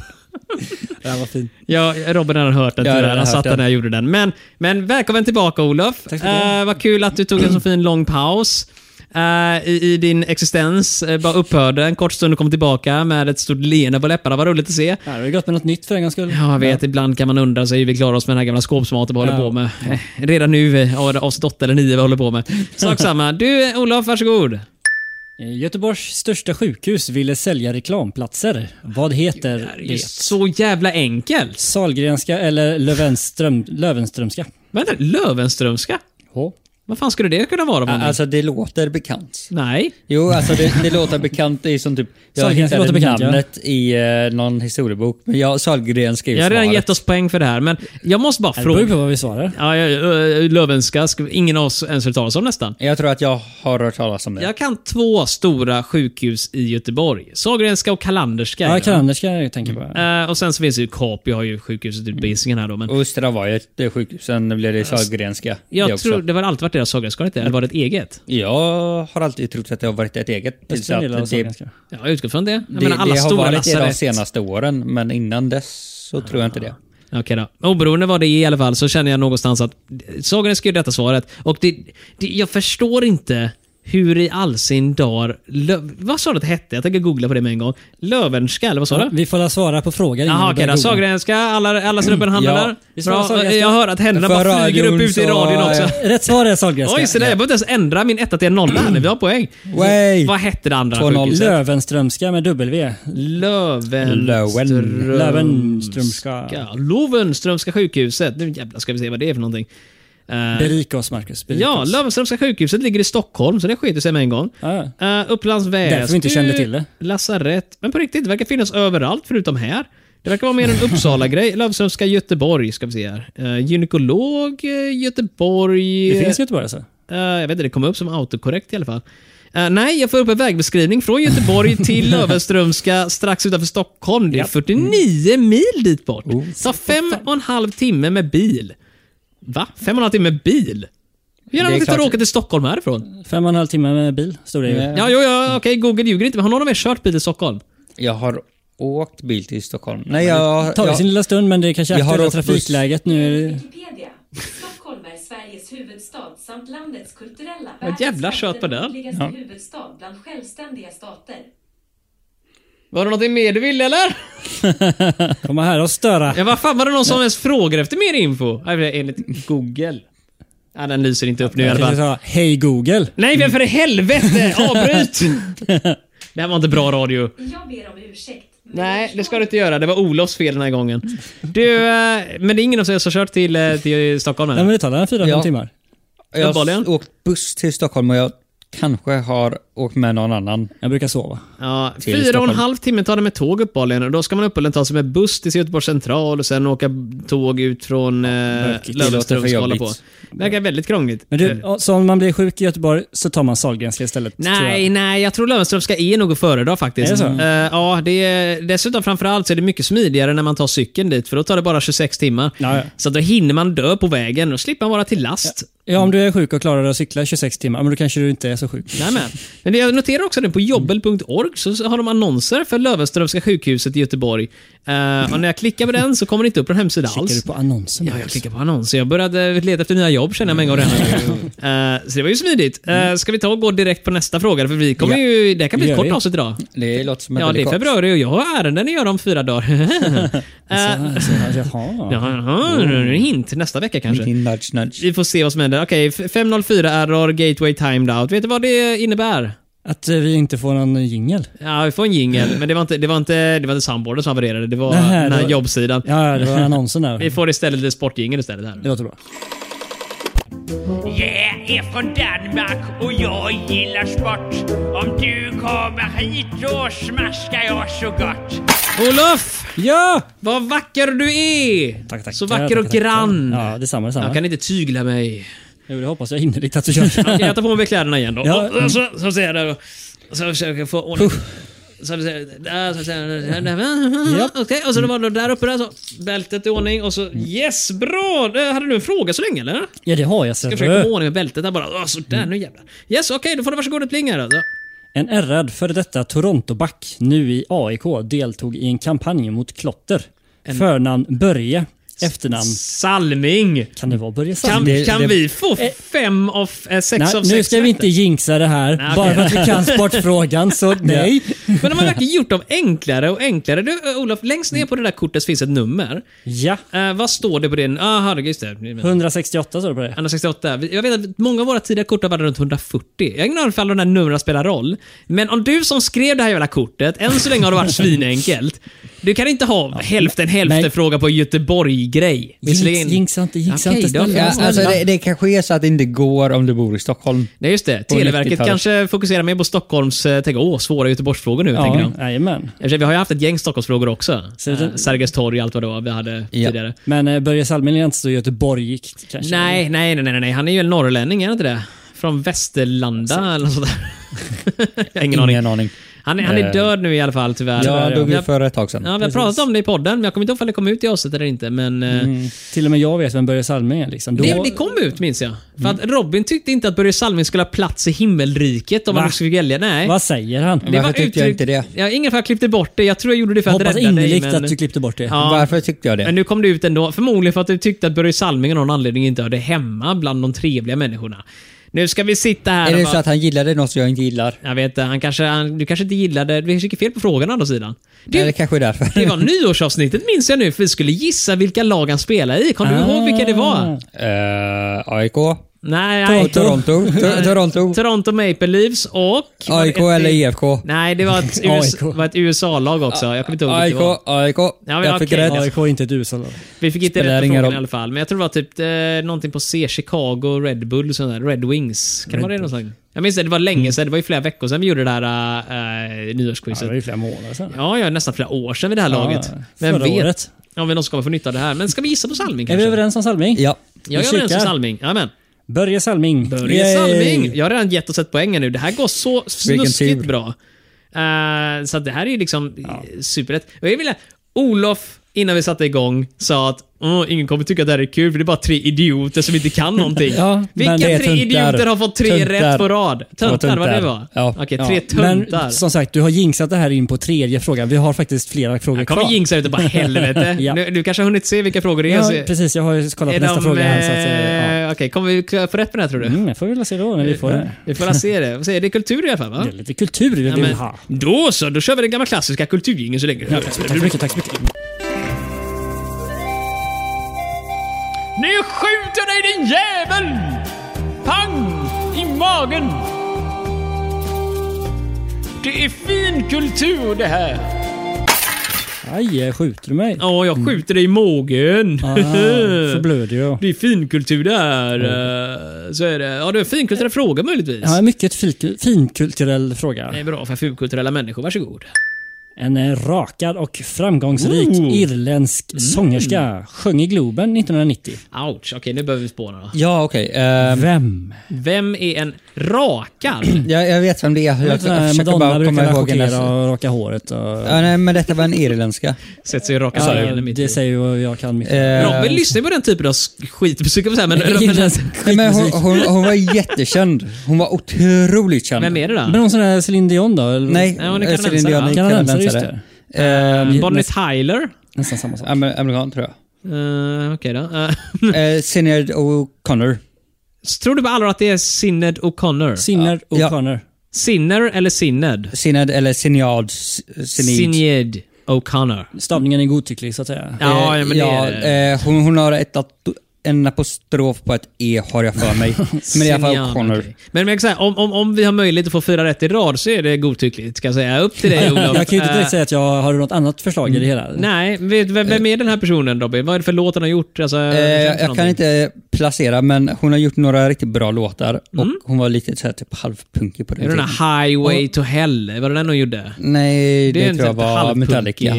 S1: Det var fint.
S3: Ja, Robin har hört den
S2: Ja, jag har
S3: tyvärr. Han
S2: hört
S3: satt där
S2: den.
S3: när jag gjorde den. Men, men välkommen tillbaka Olof.
S1: Tack så mycket.
S3: Eh, vad kul att du tog en så fin lång paus. eh, i, I din existens eh, bara upphörde en kort stund och kom tillbaka med ett stort leende på läpparna. Vad roligt att se.
S1: Ja, det var gott med något nytt för en gångs skull.
S3: Ja, jag vet. Ibland kan man undra sig hur vi klarar oss med den här gamla skåpsmaten vi håller
S1: Ja.
S3: på med. Eh, Redan nu, eh, av- avsnitt 8 eller 9 vi håller på med. Sak samma. Du, eh, Olof, varsågod.
S1: Eh, Göteborgs största sjukhus ville sälja reklamplatser. Vad heter
S3: Det är
S1: det?
S3: så jävla enkelt.
S1: Salgrenska eller Löwenström, Löwenströmska?
S3: Vänta, Löwenströmska?
S1: H.
S3: Vad fan skulle det kunna vara? om man-
S2: Alltså det låter bekant.
S3: Nej.
S2: Jo, alltså det, det låter bekant. Det är som typ... Jag
S1: Sahlgrenska
S2: hittade
S1: låter bekant, ja.
S2: namnet i eh, någon historiebok. Men jag, Sahlgren skrev
S3: Jag har redan
S2: svaret.
S3: gett oss poäng för det här, men jag måste bara
S1: Det beror ju på
S3: fråga.
S1: vad vi svarar.
S3: Ja, ja, ja, eh, Löwenska, sk- ingen av oss ens hört talas om nästan.
S2: Jag tror att jag har hört talas om det.
S3: Jag kan två stora sjukhus i Göteborg. Sahlgrenska och Kalanderska.
S1: Ja, Kalanderska jag tänker på.
S3: Eh, och sen så finns det ju Capio, har ju sjukhuset
S2: Mm.
S3: ute på Hisingen här då. Men
S2: Och Östra var ju ett eh, sjukhus, sen blev det Sahlgrenska. det
S3: Alltså, jag
S2: också.
S3: tror, det har alltid varit deras Sahlgrenska, har det inte? eller var det ett eget?
S2: Jag har alltid trott att det har varit ett eget. typ- tills
S1: Östra
S2: att
S1: delar av
S2: det,
S1: Sahlgrenska.
S3: Ja, jag utgår från det. Jag
S2: det,
S3: menar alla
S2: det har
S3: stora
S2: varit det de
S3: lasarett.
S2: senaste åren, men innan dess så tror jag inte det.
S3: Okej då. Oberoende vad det är i alla fall så känner jag någonstans att Sahlgrenska är detta svaret. Och det, det, jag förstår inte hur i all sin dar... Lö, vad sa du att det hette? Jag tänker googla på det med en gång. Löwenska, eller vad sa du?
S1: Vi får la svara på frågan innan
S3: Jaha,
S1: vi
S3: okej
S1: börjar
S3: då.
S1: googla.
S3: Sahlgrenska, alla, alla snubben handlar
S2: Ja,
S3: där.
S1: vi svarar
S3: Bra.
S1: Sahlgrenska.
S3: Jag hör att händerna
S2: För
S3: bara flyger upp
S2: radion
S3: ute i
S2: så-
S3: radion också.
S1: Rätt svar är Sahlgrenska.
S3: Oj, så där. Jag behöver inte ens ändra min etta till en nolla här nu. Vi har poäng.
S2: Way.
S3: Vad hette det andra
S2: 2-0.
S3: sjukhuset?
S1: Löwenströmska med W.
S2: Löwen.
S1: Löwenströmska.
S3: Ja, Löwenströmska sjukhuset. Nu jävlar ska vi se vad det är för någonting. Eh,
S1: Berika oss, Marcus. Berika
S3: ja,
S1: oss.
S3: Löwenströmska sjukhuset ligger i Stockholm, så det skiter sig med en gång.
S1: Ja, ja.
S3: Uh, Upplands Väsby.
S1: Ah. Därför vi inte kände till det.
S3: Lasarett. Men på riktigt, det verkar finnas överallt förutom här. Det verkar vara mer en Uppsala-grej. Löwenströmska Göteborg, ska vi se här. Eh, gynekolog eh, Göteborg.
S1: Det finns i Göteborg alltså?
S3: Eh, jag vet inte, det kom upp som autokorrekt i alla fall. Eh, nej, jag får upp en vägbeskrivning från Göteborg till Löwenströmska strax utanför Stockholm. Det är 49 mil dit bort. Ta Mm. Oh, fem och en halv timme med bil. Va? Fem och en halv timme med bil? Hur gärna
S2: Det är
S3: man inte
S2: klart.
S3: åka till Stockholm härifrån?
S1: Fem och en halv timme med bil, stod det ju.
S2: Nej.
S3: Ja, jo, ja, okej, Google ljuger inte, men har någon av er kört bil i Stockholm?
S2: Jag har åkt bil till Stockholm. Nej, jag...
S1: Tagit sin
S2: jag
S1: lilla stund, men det är kanske är
S2: Jag har
S1: aktuella
S2: åkt buss.
S1: trafikläget nu. Är det...
S6: Wikipedia. Stockholm är Sveriges huvudstad samt landets kulturella
S3: Ja, jävla kött på den.
S6: nordligaste
S2: Ja.
S6: huvudstad bland självständiga stater.
S3: Var det något mer du ville eller?
S1: Komma här och störa.
S3: Ja, vad fan var det någon som ens frågade efter mer info? Nej, det är Enligt Google. Ja, den lyser inte upp nu i
S1: Jag
S3: alla
S1: tänkte
S3: fall.
S1: säga, hej Google.
S3: Nej, men för i helvete! Avbryt! Det här var inte bra radio.
S6: Jag ber om ursäkt. men
S3: Nej,
S6: jag
S3: det ska du inte göra. Det var Olofs fel den här gången. Du, eh, men det är ingen av er som har kört till, eh, till Stockholm
S1: Nej,
S3: än?
S1: men det tar den fyra, fem
S2: Ja.
S1: timmar.
S2: jag
S3: uppenbarligen.
S2: har åkt buss till Stockholm och jag kanske har åkt med någon annan.
S1: Jag brukar sova.
S3: Ja,
S2: Till
S3: fyra och en
S2: Stockholm.
S3: halv timme tar det med tåg uppehållligen och då ska man uppehållligen ta sig med buss till Göteborgs central och sen åka tåg ut från eh,
S2: mörkigt. Det låter
S3: Löwenström
S2: för
S3: och hålla på.
S2: jobbigt.
S3: Verkar väldigt krångligt.
S1: Men du, så om man blir sjuk i Göteborg så tar man Sahlgrenska istället? tror
S3: Nej,
S1: jag.
S3: nej, jag tror Löwenströmska är nog att föredra faktiskt.
S1: Är det så?
S3: Eh, ja, det är, dessutom framförallt så är det mycket smidigare när man tar cykeln dit, för då tar det bara 26 timmar.
S1: Ja, ja.
S3: Så då hinner man dö på vägen och slipper man vara till last.
S1: Ja, om du är sjuk och klarar dig att cykla 26 timmar, men då kanske du inte är så sjuk.
S3: Nej, men. men det jag noterar också nu på jobbel.org så har de annonser för Löwenströmska sjukhuset i Göteborg. Eh, och när jag klickar på den så kommer det inte upp på en hemsida
S1: Kikar du
S3: alls.
S1: på annonsen?
S3: Ja, jag klickar på annonser. Jag började leta efter nya jobb känner jag mig en gång
S1: Mm.
S3: redan. Eh, så det var ju smidigt. Uh, ska vi ta och gå direkt på nästa fråga? För vi kommer
S1: Ja.
S3: ju... Det här kan bli ett
S1: Gör
S3: kort
S1: vi.
S3: avsnitt idag.
S2: Det låter som ett
S3: Ja, det är
S2: delikat.
S3: februari och jag har ärenden att göra om fyra dagar. uh,
S1: Alltså, jaha.
S3: jaha, en hint. Nästa vecka kanske.
S2: Din nudge, nudge.
S3: Vi får se vad som händer. Okej, 504 error, gateway timed out. Vet du vad det innebär?
S1: Att eh, vi inte får någon jingel.
S3: Ja, vi får en jingel, men det var inte, det var inte, det var inte soundboarden som havererade. Det var
S1: Nej,
S3: den här
S1: det var-
S3: jobbsidan.
S1: Ja, ja, det var annonsen
S3: Vi
S1: där.
S3: får istället lite sportjingel istället här.
S1: Det låter bra.
S5: Jag är från Danmark och jag gillar sport. Om du kommer hit då smaskar jag så gott.
S3: Olof!
S1: Ja!
S3: Vad vacker du är!
S1: Tack, tack.
S3: Så vacker
S1: Ja,
S3: och
S1: tack, tack.
S3: grann.
S1: Ja, detsamma, detsamma.
S3: Jag kan inte tygla mig.
S1: Jo, det hoppas jag innerligt att du gör.
S3: Okej, jag tar på mig kläderna igen då.
S1: Ja.
S3: Och, och så, så ser jag där och så försöker jag få ordning. Så vi ser- där, så ser jag- där.
S1: Japp. Mm.
S3: Okej, och så det var det där uppe där så. Bältet i ordning och så yes, bra! Eh, Hade du en fråga så länge eller?
S1: Ja, det har jag.
S3: Jag
S1: Ser
S3: försöker komma i
S1: du.
S3: ordning med bältet där bara. Åh, Sådär, nu jävlar. Yes, okej, då får det varsågod ett pling här då. Så.
S1: En ärrad före detta Torontoback, nu i AIK, deltog i en kampanj mot klotter. Förnamn Börje, efternamn...
S3: Salming!
S1: Kan det vara Börje Salming?
S3: Kan,
S2: det-
S3: kan
S2: det-
S3: vi få fem av eh, sex
S1: Nej,
S3: av sex
S1: nu ska vi inte
S3: rätter?
S1: jinxa det här.
S3: Nej,
S1: Bara
S3: okej.
S1: för att vi kan sportfrågan, så nej.
S3: Men de har verkligen gjort dem enklare och enklare. Du, eh, Olof, längst ner på det där kortet finns ett nummer.
S1: Ja,
S3: Eh, vad står det på det? Ah, herregud, just det.
S1: 168 står det på det.
S3: 168. Vi- Jag vet att många av våra tidiga kort har varit runt 140. Jag har ingen aning om de här numren spelar roll. Men om du som skrev det här jävla kortet, än så länge har det varit svinenkelt. Du kan inte ha hälften
S1: nej.
S3: hälften-fråga på Göteborg-grej.
S1: Jinx, jinxa inte, jinxa
S3: Okej
S1: inte.
S3: då.
S1: Snälla,
S2: Ja,
S1: snälla.
S2: alltså det, det kanske är så att det inte går om du bor i Stockholm.
S3: Nej, just det.
S2: På
S3: Televerket
S2: 90-talet.
S3: kanske fokuserar mer på Stockholms... eh, Tänk, åh, svåra Göteborgsfrågor nu, tänker de.
S1: Ja, jajamän.
S3: I och för sig, Vi har ju haft ett gäng Stockholmsfrågor också.
S1: Så det-
S3: Eh, Sergels torg och allt vad det var vi hade
S2: Ja.
S3: tidigare.
S1: Men eh, Börje Salming är inte så göteborgigt kanske?
S3: Nej, nej, nej, nej, nej. Han är ju en norrlänning, är han inte det? Från Västerlanda eller något sånt där. Jag har ingen aning.
S2: Ingen aning.
S3: Han är, han är
S2: Eh,
S3: död nu i alla fall, tyvärr.
S2: Jag dog
S3: vi
S2: ju
S3: har,
S2: för ett tag sedan.
S3: ja, vi har pratat om det i podden, men jag kommer inte ihåg om det kom ut i avsnittet eller inte. Men, eh,
S2: Mm,
S1: Mm. Till och med jag vet vem Börje Salming är. Liksom. Då,
S3: det, det kom ut, minns jag. För att
S2: Mm.
S3: Robin tyckte inte att Börje Salming skulle ha plats i himmelriket om
S1: Va?
S3: han fick välja. Nej.
S1: Vad säger han?
S3: Det
S2: Varför tyckte jag
S3: uttryckt-
S2: inte det?
S3: Ja, ingen för att jag klippte bort det. Jag tror jag gjorde det för att
S1: Hoppas
S3: rädda dig.
S1: innerligt
S3: men-
S1: att du klippte bort det.
S3: Ja.
S2: Varför tyckte jag det?
S3: Men nu kom det ut ändå. Förmodligen för att du tyckte att Börje Salming av någon anledning inte hörde hemma bland de trevliga människorna. Nu ska vi sitta här
S2: är
S3: och
S2: det
S3: bara,
S2: så att han gillade något som jag inte gillar?
S3: Jag vet inte, han kanske, han, du kanske inte gillade... Vi fick fel på frågan å andra sidan.
S2: Det,
S3: Du,
S2: det kanske är därför.
S3: det var nyårsavsnittet minns jag nu, för vi skulle gissa vilka lag han spelade i. Kommer du ihåg
S2: Ah.
S3: vilka det var?
S2: Eh, AIK?
S3: Nej,
S2: Och
S3: nej.
S2: Toronto? Tor- Toronto?
S3: Toronto Maple Leafs och...
S2: AIK
S3: var det ett-
S2: eller E IFK?
S3: Nej, det var ett, US,
S1: AIK.
S3: var ett USA-lag också. Jag kommer inte ihåg vilket det var.
S2: AIK, AIK.
S3: men
S2: Jag fick
S3: okej.
S2: rätt.
S1: AIK är inte ett USA-lag.
S3: Vi fick inte
S2: Spelar
S3: rätt på
S2: ingen
S3: frågan
S2: roll.
S3: i alla fall, men jag tror det var typ eh, någonting på C, Chicago, Red Bull, sånt där. Red Wings. Kan det vara det någonstans? Jag minns det, det var länge sedan, det var ju flera veckor sedan vi gjorde det här eh,
S1: Mm. Ja, det
S3: nyårsquizet.
S1: var ju flera månader sedan.
S3: Ja, ja, nästan flera år sedan vid det här laget. Vem
S1: förra
S3: vet?
S1: året.
S3: Om vi någonsin kommer få nytta av det här. Men ska vi gissa på Salming
S1: Är
S3: kanske?
S1: vi överens om Salming?
S2: Ja.
S3: Jag
S1: Vi
S3: är överens om
S1: kikar.
S3: Salming. Jajamän.
S1: Börje Salming.
S3: Börje
S1: Yay.
S3: Salming! Jag har redan gett oss ett poäng här nu. Det här går så
S2: Vilken
S3: snuskigt
S2: tur.
S3: bra. Eh, så att det här är ju liksom eh, superrätt. Och jag vill, Olof, innan vi satte igång, sa att "Åh, ingen kommer tycka att det här är kul för det är bara tre idioter som inte kan någonting.
S1: Ja,
S3: Vilka
S1: men det
S3: tre
S1: är
S2: tuntar.
S3: idioter har fått tre
S2: Tuntar.
S3: rätt på rad? Töntar, vad det
S2: tuntar.
S3: var?
S2: Ja.
S3: Okej,
S1: Ja,
S3: tre tuntar.
S1: Men som sagt, du har jinxat det här in på tredje frågan. Vi har faktiskt flera frågor
S3: jag kommer
S1: kvar.
S3: jinxa ut och bara helvete.
S1: Ja.
S3: nu, du kanske har hunnit se vilka frågor det är.
S1: Ja,
S3: så-
S1: precis. Jag har ju kollat
S3: är
S1: på nästa
S3: de,
S1: fråga här. Så att, eh, ja.
S3: eh, Okej, kommer vi få rätt på den här tror du?
S1: Mm, jag får väl se då när vi får det.
S3: Vi får väl se det. Vad säger du? Det är kultur i alla fall va?
S1: Det är lite kultur vi vill
S3: Ja, men,
S1: ha.
S3: då så, då kör vi den gamla klassiska kulturgingen så länge.
S1: Tack så mycket, tack så mycket.
S5: Nu skjuter dig din jävel! Pang! I magen! Det är fin kultur det här.
S1: Aj, skjuter du mig?
S3: Ja, jag skjuter dig i magen.
S1: Mm. Ah, så blöder jag.
S3: det är finkultur där. eh, Så är det. Ja, det är en finkulturell fråga möjligtvis.
S1: Ja, mycket fik- finkulturell fråga.
S3: Det är bra för finkulturella människor. Varsågod.
S1: En eh, rakad och framgångsrik irländsk sångerska sjöng i Globen 1990.
S3: Ouch. Okej, nu behöver vi spåna då.
S2: Ja, okej. ehm,
S1: Vem?
S3: Vem är en rakad?
S2: jag, jag vet vem det är. Jag, jag
S1: Vet du, när
S2: försöker
S1: Madonna
S2: bara komma
S1: brukar
S2: ihåg hennes...
S1: chockera och raka håret. Och... Ja,
S2: Ja, nej, men detta var en irländska.
S3: Sätter sig i raka
S1: det,
S3: sargen i mitt
S1: det
S3: liv.
S1: säger ju jag kan mycket.
S2: Eh,
S3: Robin lyssnar ju på den typen av sk- skitmusik, jag säga, men, men,
S1: Irländsk
S2: nej, men hon,
S1: skitmusik.
S2: hon, hon var jättekänd. Hon var otroligt känd.
S3: vem är det
S1: Men
S3: då?
S1: någon sån där Céline Dion då? Eller?
S2: Nej,
S3: Nej, hon är
S2: eh, Céline
S3: kanadensare,
S2: Dion
S3: va?
S2: är
S1: Kanadensare, just
S2: kanadensare. Ehm,
S1: Mm.
S3: Bonnie Tyler?
S1: Nästan samma sak.
S2: amer- Amerikan, tror jag.
S3: Eh, Okej då. Eh,
S2: Eh, Sinéad O'Connor.
S3: tror du på allvar att det är Sinned O'Connor?
S1: Sinner
S2: Ja.
S1: O'Connor.
S3: Sinner eller Sinned?
S2: Sinéad eller Sinéad. Sinéad.
S3: Sinned O'Connor.
S1: Stavningen är godtycklig så att säga.
S3: Ja, men det
S2: Eh, ja,
S3: är det.
S2: eh, hon, hon har ett ato- en apostrof på ett E har jag för mig. Men i alla fall
S3: Sinead,
S2: O'Connor.
S3: okej. Men, men jag kan säga, om, om, om vi har möjlighet att få fyra rätt i rad så är det godtyckligt. Ska jag säga. Upp till dig Olof.
S1: Jag kan ju inte direkt
S3: Eh,
S1: säga att jag har något annat förslag i det
S2: mm.
S1: hela.
S3: Nej, vet, vem, vem är den här personen Robin? Vad är det för låt han har gjort? Alltså,
S2: Eh,
S3: känns det
S2: jag kan
S3: någonting?
S2: inte placera, men hon har gjort några riktigt bra låtar och hon var lite så här, typ halvpunkig på den
S3: Mm. Är det den här Highway to Hell? Var det den hon gjorde?
S2: Nej, det,
S3: är en typ
S2: tror jag
S3: sån här
S2: var
S3: halvpunkig-
S2: Metallica.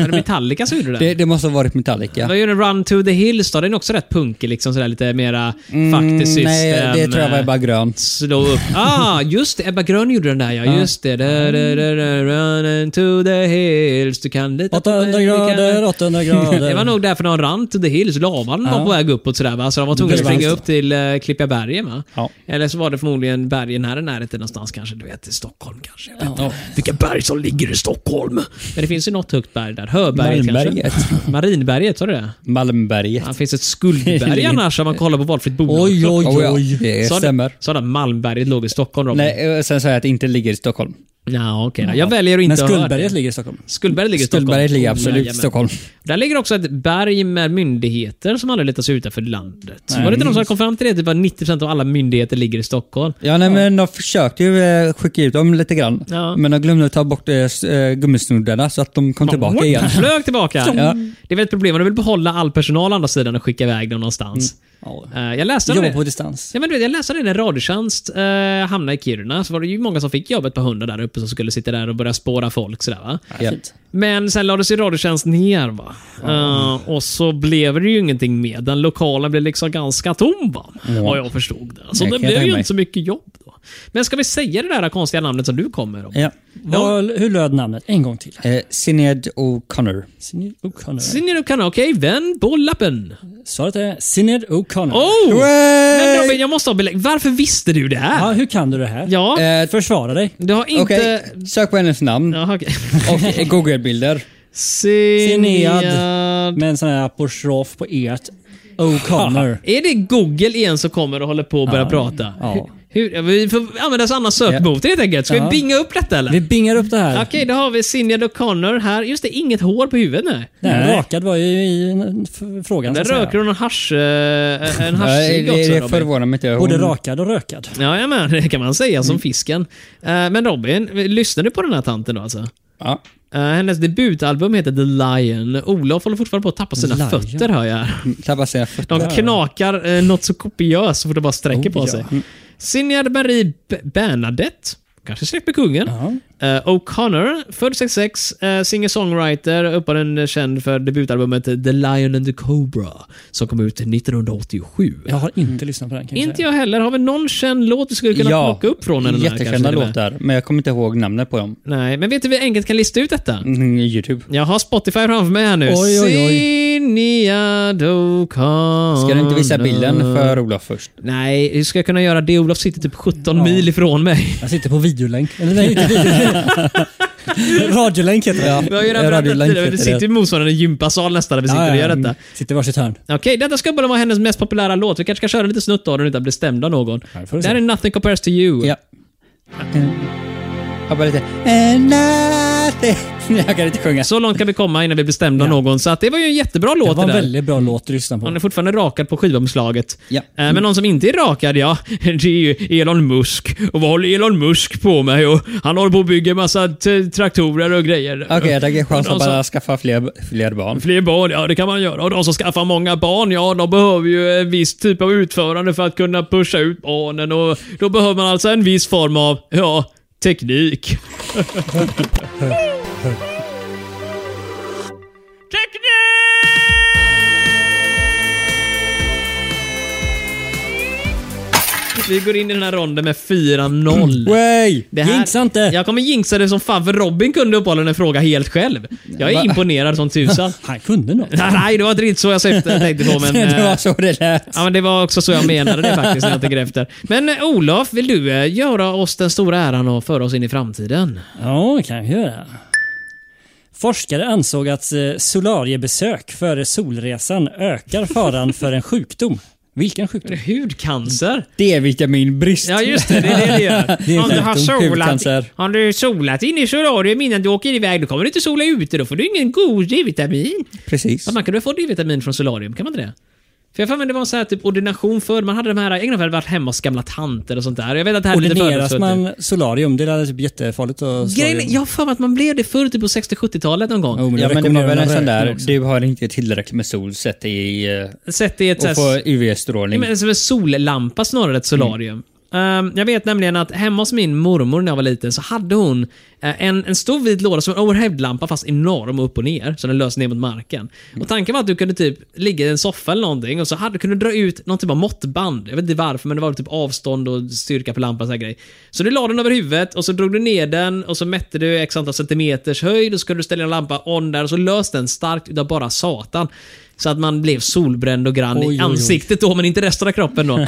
S3: Var det Metallica som gjorde
S2: Det,
S3: den?
S2: det måste ha varit Metallica.
S3: Vad gjorde Run to the Hills då? Den är också rätt punkig liksom sådär lite mera fuck the system.
S2: Mm, Nej, det tror jag var
S3: eh,
S2: Ebba Grön.
S3: Slå upp. Ah, just det. Ebba Grön gjorde den där ja. Just det. Da, da, da, da, run to the hills. Du kan lita på mig,
S1: 800
S3: du kan-
S1: grader, 800
S3: Det var
S1: grader.
S3: nog därför de rann till The Hills. Lavan var på väg uppåt sådär va. Så de var tvungna att
S1: Det var
S3: springa
S1: just
S3: upp till uh, Klippiga bergen va.
S2: Ja.
S3: Eller så var det förmodligen bergen här i närheten någonstans kanske. Du vet, i Stockholm kanske. Jag vet inte Vilka berg som ligger i Stockholm. Men det finns ju något högt berg där. Höberget
S2: Marinberget.
S3: kanske? Marinberget, sa du det?
S2: Malmberget.
S3: Ja, Det finns ett skuldberg annars om man kollar på valfritt bolag.
S1: Oj, oj,
S2: Oh, ja,
S1: oj.
S2: det
S3: Sa du-
S2: stämmer.
S3: Sa du att Malmberget låg i Stockholm Robin?
S2: Nej, eh, sen sa jag att det inte ligger i Stockholm.
S3: Ja, okej. då. Jag väljer att
S1: Men
S3: inte ha hört
S1: Skuldberget
S3: det.
S1: ligger i Stockholm.
S3: Skuldberget ligger i Stockholm.
S2: Stullberget ligger absolut i
S3: Jajamän.
S2: Stockholm.
S3: Där ligger också ett berg med myndigheter som aldrig letar sig utanför landet. Var det inte någon som kom fram till det? Typ att 90% av alla myndigheter ligger i Stockholm.
S2: Ja, nej, men de försökte ju eh, skicka ut dem lite grann.
S3: Ja.
S2: Men de glömde att ta bort eh, s- eh, gummisnoddarna så att de kom tillbaka igen.
S3: Flög tillbaka.
S2: Ja.
S3: Det är väl ett problem om du vill behålla all personal å andra sidan och skicka iväg dem någonstans.
S1: Ja.
S3: Eh, Jag läste om
S1: Mm. Jobba
S3: det.
S1: på distans.
S3: Ja, men du vet, jag läste det när Radiotjänst eh, hamnade i Kiruna, så var det ju många som fick jobbet på hundar där uppe som skulle sitta där och börja spåra folk. Sådär, va?
S2: Ja.
S1: Fint.
S3: Men sen lades ju Radiotjänst ner. Va? Eh, och så blev det ju ingenting med. Den lokalen blev liksom ganska tom, va? vad jag förstod det. Så
S2: Jag
S3: det
S2: kan
S3: blev
S2: tänka
S3: ju
S2: mig.
S3: inte så mycket jobb. Då. Men ska vi säga det där konstiga namnet som du kommer om?
S2: Ja.
S1: Ja. Hur löd namnet? En gång till.
S2: Eh, Sinéad O'Connor.
S1: Sinéad O'Connor.
S3: Signe du kan, okej, vänd på lappen.
S1: Svaret är Sinéad O'Connor.
S3: Oh! Men
S2: Hurray!
S3: Robin, jag måste ha belägg. Varför visste du det här?
S1: Ja, hur kan du det här?
S3: Ja,
S2: Eh,
S1: Försvara dig.
S3: du har inte...
S2: Okej, sök på hennes namn
S3: Jaha, okej.
S2: och eh, Google-bilder.
S3: Sinead.
S1: Med en sån här apostrof på ert. O'Connor.
S3: Är det Google igen som kommer och håller på och börjar prata?
S1: Ja.
S3: Hur, hur, vi får använda oss av andra sökmotor helt enkelt. Ska
S1: Ja.
S3: vi binga upp detta eller?
S1: Vi bingar upp det här.
S3: Okej, då har vi Sinead O'Connor här. Just det, inget hår på huvudet nej.
S1: Nej, rakad var ju i en- f- frågan. så
S3: Där
S1: att säga.
S3: röker hon en hasch... eh, En
S2: Ja,
S3: haschcigg
S2: det,
S3: också
S2: det
S3: Robin.
S2: förvånar mig inte. Hon,
S1: Både rakad och rökad.
S3: Ja, men det kan man säga
S1: Mm.
S3: som fisken. Eh, Men Robin, lyssnar du på den här tanten då alltså?
S2: Ja.
S3: Eh, hennes debutalbum heter The Lion. Olof håller fortfarande på att tappa sina
S1: Lion.
S3: fötter hör jag.
S2: Tappar sina fötter.
S3: De knakar eh, något så kopiöst så fort de bara sträcker
S1: Oh,
S3: på
S1: ja.
S3: sig.
S2: Mm.
S3: Signad Marie B- Bernadette, kanske släkt med kungen. Eh, O'Connor, född 66, eh, singer-songwriter, upparen känd för debutalbumet The Lion and the Cobra, som kom ut 1987.
S1: Jag har inte lyssnat på den kan
S3: Inte
S1: säga.
S3: jag heller. Har vi någon känd låt vi skulle kunna plocka upp från henne? här,
S2: jättekända
S3: kanske till och med?
S2: låtar, men jag kommer inte ihåg namnet på dem.
S3: Nej, men vet du hur vi enkelt kan lista ut detta?
S2: Mm, Youtube.
S3: Jag har Spotify framför mig här nu.
S1: Oj, oj, oj.
S3: Signad O'Connor.
S2: Ska du inte visa bilden för Olof först?
S3: Nej, hur ska jag kunna göra det? Olof sitter typ 17 mil ifrån mig.
S1: Jag sitter på videolänk. Eller nej, inte videolänk. Radiolänk heter det. Ja.
S3: Vi har ju redan berättat
S2: Radiolänk
S3: tidigare, vi
S2: heter
S3: sitter i
S2: det.
S3: motsvarande gympasal nästan där vi sitter och gör detta.
S1: Sitter i varsitt hörn.
S3: Okej, detta ska bara vara hennes mest populära låt. Vi kanske ska köra en liten snutt av den utan att bli stämda av någon.
S1: Här får du
S3: Det här
S1: se.
S3: är Nothing Compares To You.
S2: Ja. Hoppa lite. And I det... Jag kan inte sjunga.
S3: Så långt kan vi komma innan vi blir stämda av
S1: Ja.
S3: någon. Så att det var ju en jättebra låt
S1: Det var en
S3: det där.
S1: väldigt bra låt att lyssna på.
S3: Han är fortfarande rakad på skivomslaget.
S2: Ja.
S3: Eh, Men någon som inte är rakad, ja, det är ju Elon Musk. Och vad håller Elon Musk på med? Och han håller på och bygger massa t- traktorer och grejer.
S2: Okej, jag tänker chansa
S3: Någon
S2: att
S3: som-
S2: bara skaffa fler, fler barn.
S3: Fler barn, ja det kan man göra. Och de som skaffar många barn, ja de behöver ju en viss typ av utförande för att kunna pusha ut barnen och då behöver man alltså en viss form av, ja, teknik. Vi går in i den här ronden med 4-0.
S2: Mm.
S1: Way!
S3: Det här-
S1: Jinxa inte!
S3: Jag kommer jinxa det som fan för Robin kunde uppehålla en fråga helt själv. Jag är
S2: Va?
S3: imponerad som tusan.
S1: Han kunde något.
S3: Nej, nej, det var inte riktigt så jag syftade- jag tänkte på, men...
S2: det var
S3: eh,
S2: så det lät.
S3: Ja, men det var också så jag menade det faktiskt när jag tänker efter. Men eh, Olof, vill du eh, göra oss den stora äran och föra oss in i framtiden?
S1: Ja, det kan jag göra. Forskare ansåg att eh, solariebesök före solresan ökar faran för en sjukdom. Vilken sjukdom?
S3: Hudcancer?
S2: D-vitaminbrist.
S3: Ja, just det. Det är det det
S1: är
S3: gör. Om du har
S2: sjukdom,
S3: solat,
S2: hudcancer.
S3: om du solat in i solarium innan du åker iväg, då kommer du inte sola ute. Då får du ingen god D-vitamin.
S2: Precis.
S3: Ja, man kan väl få D-vitamin från solarium? Kan man inte det? För jag får mig det var en sån här typ ordination förr. Man hade de här, jag hade varit hemma hos gamla tanter och sånt där. Jag vet att det här är lite
S1: Ordineras
S3: fördomsfullt.
S1: man solarium? Det är typ jättefarligt att
S3: Grejen, är-
S1: solarium.
S3: jag har för mig att man blev det förr, typ på 60-70-talet någon gång.
S1: Jo, men
S2: Ja, Oh, men det var väl en sån där,
S1: Det,
S2: du har inte tillräckligt med sol sett i... eh,
S3: Sett i ett så här-
S2: Och få
S3: Ja,
S2: UV-strålning.
S3: men Som en sollampa snarare än ett solarium. Ehm, jag vet nämligen att hemma hos min mormor när jag var liten så hade hon eh, en, en stor vit låda som en overheadlampa fast enorm upp och ner. Så den lös ner mot marken. Och Tanken var att du kunde typ ligga i en soffa eller någonting och så hade, kunde du dra ut någon typ av måttband. Jag vet inte varför men det var typ avstånd och styrka på lampan. Så, här grej. så du la den över huvudet och så drog du ner den och så mätte du x antal centimeters höjd och så kunde du ställa en lampa on där och så löste den starkt utav bara satan. Så att man blev solbränd och grann
S1: Oj, oj,
S3: i
S1: oj.
S3: ansiktet ansiktet då, men inte resten av kroppen då.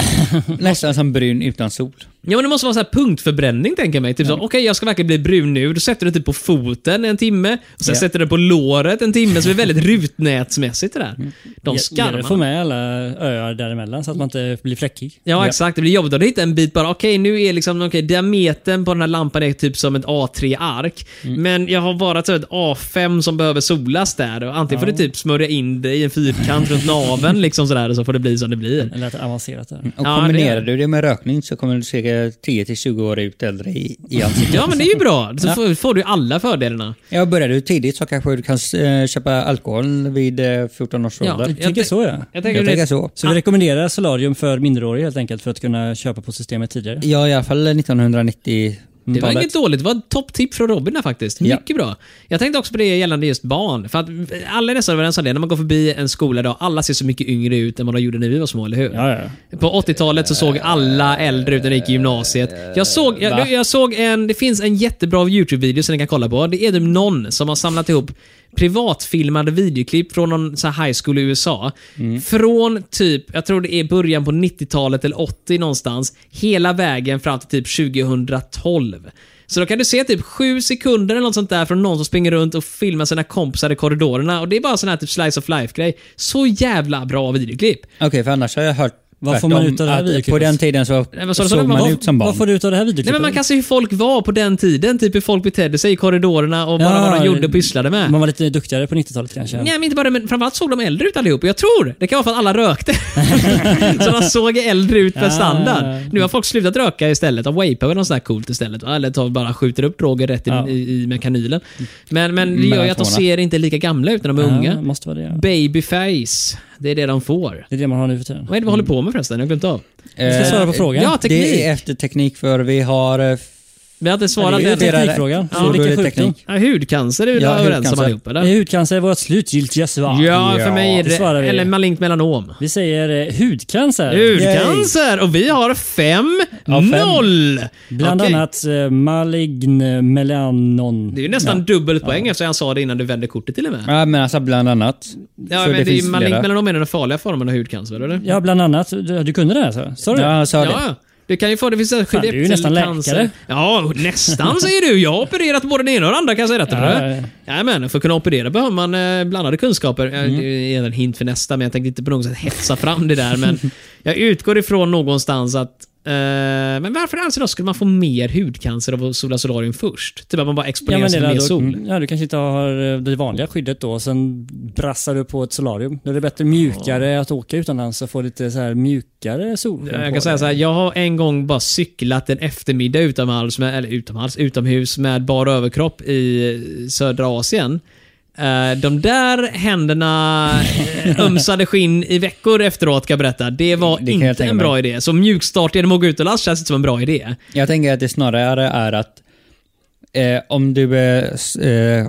S2: Nästan som brun utan sol.
S3: Ja, men det måste vara så här punktförbränning, tänker jag mig. Typ så, okej, jag ska verkligen bli brun nu. Då sätter du det typ på foten en timme. Och sen
S2: Ja.
S3: sätter du det på låret en timme, så det är väldigt rutnätsmässigt det där. De
S1: gäller att få
S3: skarvarna.
S1: med alla öar däremellan så att man inte blir fläckig.
S3: Ja, exakt. Det blir jobbigt att hitta en bit bara. Okej, nu är liksom okej, diametern på den här lampan är typ som ett A3-ark. Men jag har bara typ ett A5 som behöver solas där. Och antingen får du typ smörja in det i en fyrkant runt naveln liksom sådär, och så får det bli som det blir.
S1: Eller att avancerat där.
S2: Och
S3: Ja,
S2: kombinerar
S3: det-
S2: du det med rökning så kommer du cirka 10-20 år ut äldre i, i ansiktet.
S3: Ja, men det är ju bra. Så får, får du ju alla fördelarna.
S2: Ja, börjar du tidigt så kanske du kan eh, köpa alkohol vid eh, 14 års
S3: Ja,
S2: ålder.
S1: Jag tänker
S3: tänk-
S1: så ja.
S3: Jag
S2: Jag
S3: tänker det,
S2: tänker så.
S1: Så vi rekommenderar solarium för minderåriga helt enkelt för att kunna köpa på systemet tidigare.
S2: Ja, i alla fall Mm. 1990
S3: det var inget dåligt. Det var ett topptipp från Robin där faktiskt.
S2: Ja.
S3: Mycket bra. Jag tänkte också på det gällande just barn. För att alla är nästan överens om det. När man går förbi en skola idag, alla ser så mycket yngre ut än vad de gjorde när vi var små, eller hur?
S1: Ja, ja.
S3: På 80-talet så såg alla äldre ut när de gick i gymnasiet. Jag såg, jag,
S2: Va?
S3: jag såg en, det finns en jättebra YouTube-video som ni kan kolla på. Det är typ någon som har samlat ihop privatfilmade videoklipp från någon så här high school i USA. Från typ, jag tror det är början på 90-talet eller 80 någonstans, hela vägen fram till typ 2012. Så då kan du se typ sju sekunder eller något sånt där från någon som springer runt och filmar sina kompisar i korridorerna. Och det är bara sån här typ slice of life-grej. Så jävla bra videoklipp.
S2: Okej, för annars har jag hört
S1: Vad får man
S2: tvärtom,
S1: ut av det här
S2: att
S1: videoklippet?
S2: På den tiden så
S3: Nej, men så- så-
S2: såg man
S3: vad-
S2: ut som barn.
S1: Vad får du ut av det här videoklippet?
S3: Nej, men man kan se hur folk var på den tiden. Typ hur folk betedde sig i korridorerna och bara
S1: Ja,
S3: vad de gjorde och pysslade med.
S1: Man var lite duktigare på 90-talet kanske.
S3: Nej, men inte bara det, men framförallt såg de äldre ut allihop. Jag tror det kan vara för att alla rökte. så de såg äldre ut per
S1: Ja.
S3: standard. Nu har folk slutat röka istället. De vapar väl något sånt där coolt istället. va? Eller tar, bara skjuter upp droger rätt i,
S1: Ja.
S3: i, i med kanylen. Men, men det gör
S2: Mellan
S3: ju att de
S2: tårna.
S3: ser inte lika gamla ut när de är
S1: Ja,
S3: unga.
S1: måste vara det. ja.
S3: Babyface. Det är det de får.
S1: Det är det man har nu för tiden.
S3: Vad är det vi håller på med förresten? Jag har glömt av.
S1: Du ska svara på frågan.
S3: Eh, ja, teknik.
S2: Eh, Det är efter teknik för vi har... eh,
S3: Vi har inte
S1: det
S3: svarat
S1: är ju
S3: än.
S1: det. teknikfrågan.
S2: Så
S1: Ja, vilken
S2: då är det
S1: sjukdom.
S2: teknik.
S3: Ja, hudcancer är vi
S2: Ja,
S3: väl överens om
S2: hudcancer.
S3: allihop, eller?
S1: Eh, Hudcancer är vårt slutgiltiga svar.
S3: Ja, för mig är
S1: det svarar
S3: det...
S1: vi.
S3: Eller malignt melanom.
S1: Vi säger eh, hudcancer.
S3: Hudcancer! Och vi har
S2: fem.
S3: 5-0!
S1: Bland
S3: Okej.
S1: annat eh, malign melanon.
S3: Det är ju nästan dubbelt poäng eftersom jag sa det innan du vände kortet till och med.
S2: Ja, men alltså bland annat.
S3: Ja,
S2: Så
S3: men det är ju
S2: finns
S3: malignt
S2: flera.
S3: melanom är den farliga formen av hudcancer, eller?
S1: Ja, bland annat. Du, du kunde det här så? Sa du?
S2: Ja, jag sa
S3: Ja,
S2: det.
S3: ja. Du kan ju få... Det finns en
S1: Fan, du är ju nästan
S3: skelettelcancer.
S1: läkare.
S3: Ja, nästan säger du. Jag har opererat både den ena och den andra kan jag säga detta.
S1: Ja,
S3: Ja,
S1: ja. Mm.
S3: men för att kunna operera behöver man eh, blandade kunskaper. Ja, Det är en hint för nästa, men jag tänkte inte på något sätt hetsa fram det där. Men jag utgår ifrån någonstans att Eh, men varför anser de skulle man få mer hudcancer av att sola solarium först? Typ att man bara
S1: Ja, men
S3: exponeras
S1: det
S3: för
S1: är
S3: mer sol.
S1: då, mm. ja, du kanske inte har eh, det vanliga skyddet då, sen brassar du på ett solarium. Då är det bättre mjukare att åka utomlands och få lite så här mjukare solsken
S3: Jag
S1: på
S3: kan säga
S1: dig.
S3: så här, jag har en gång bara cyklat en eftermiddag utomhus med, eller utomhus, utomhus med bara överkropp i södra Asien. Eh, De där händerna eh, ömsade skinn i veckor efteråt kan jag berätta. Det var
S2: Det kan jag
S3: inte
S2: tänka
S3: en bra idé. Så mjukstart genom att gå ut och last känns inte som en bra idé.
S2: Jag tänker att det snarare är att eh, om du eh, s- eh,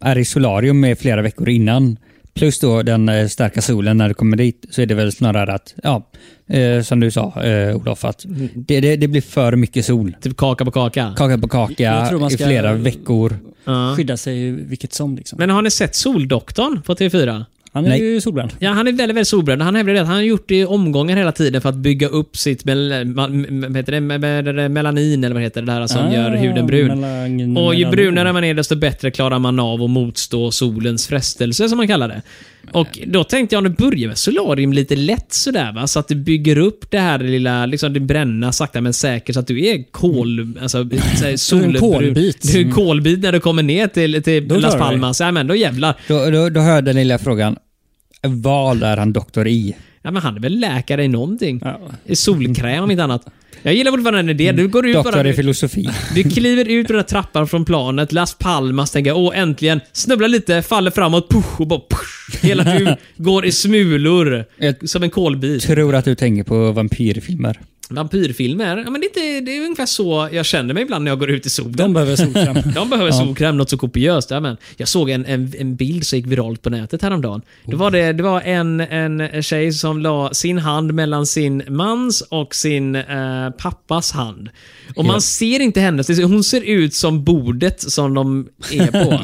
S2: är i solarium i flera veckor innan, plus då den eh, starka solen när du kommer dit, så är det väl snarare att, ja, eh, som du sa eh, Olof, att det, det, det blir för mycket sol.
S3: Typ kaka på kaka.
S2: Kaka på kaka
S1: Jag tror man
S2: i
S1: ska-
S2: flera veckor.
S3: Ja.
S1: Skydda sig ju vilket som liksom.
S3: Men har ni sett Soldoktorn på TV4?
S1: Han är
S2: Nej.
S1: ju solbränd.
S3: Ja, han är väldigt, väldigt solbränd. Han hävdar det att han har gjort det i omgångar hela tiden för att bygga upp sitt mel- ma- m- vad heter det? Me- me- me- melanin, eller vad heter det där som gör huden brun.
S1: Melangin-
S3: och ju
S1: Ah, melanin.
S3: brunare man är, desto bättre klarar man av att motstå solens frestelse, som man kallar det. Och då tänkte jag, om du börjar med solarium lite lätt sådär, va? så att du bygger upp det här lilla, liksom det bränna sakta men säkert, så att du är kol... Alltså,
S1: Mm.
S3: såhär, solbrun.
S1: kolbit.
S3: Du är en kolbit när du kommer ner till,
S1: Då
S3: till
S1: klarar
S3: Las
S1: du dig.
S3: Palmas. Ja, men då jävlar.
S2: Då, då, då hör jag den lilla frågan, vad är han doktor i?
S3: Ja, men han är väl läkare i någonting.
S1: Ja.
S3: I solkräm om inte annat. Jag gillar fortfarande den idén. Du går ut bara...
S2: Mm. Doktor i
S3: Du,
S2: filosofi.
S3: du kliver ut på den här trappan från planet, Las Palmas, tänker jag, åh äntligen, snubblar lite, faller framåt, push, och bara push. Hela du går i smulor.
S2: Ett-
S3: Som en kolbit.
S2: Tror att du tänker på vampyrfilmer.
S3: Vampyrfilmer, ja men det är, inte, det är ungefär så jag känner mig ibland när jag går ut i solen.
S1: De behöver solkräm.
S3: De behöver solkräm, något så kopiöst. Ja, men jag såg en, en, en bild som gick viralt på nätet häromdagen. Det var, det, det var en, en tjej som la sin hand mellan sin mans och sin eh, pappas hand. Och man ser inte hennes. det- Hon ser ut som bordet som de är på.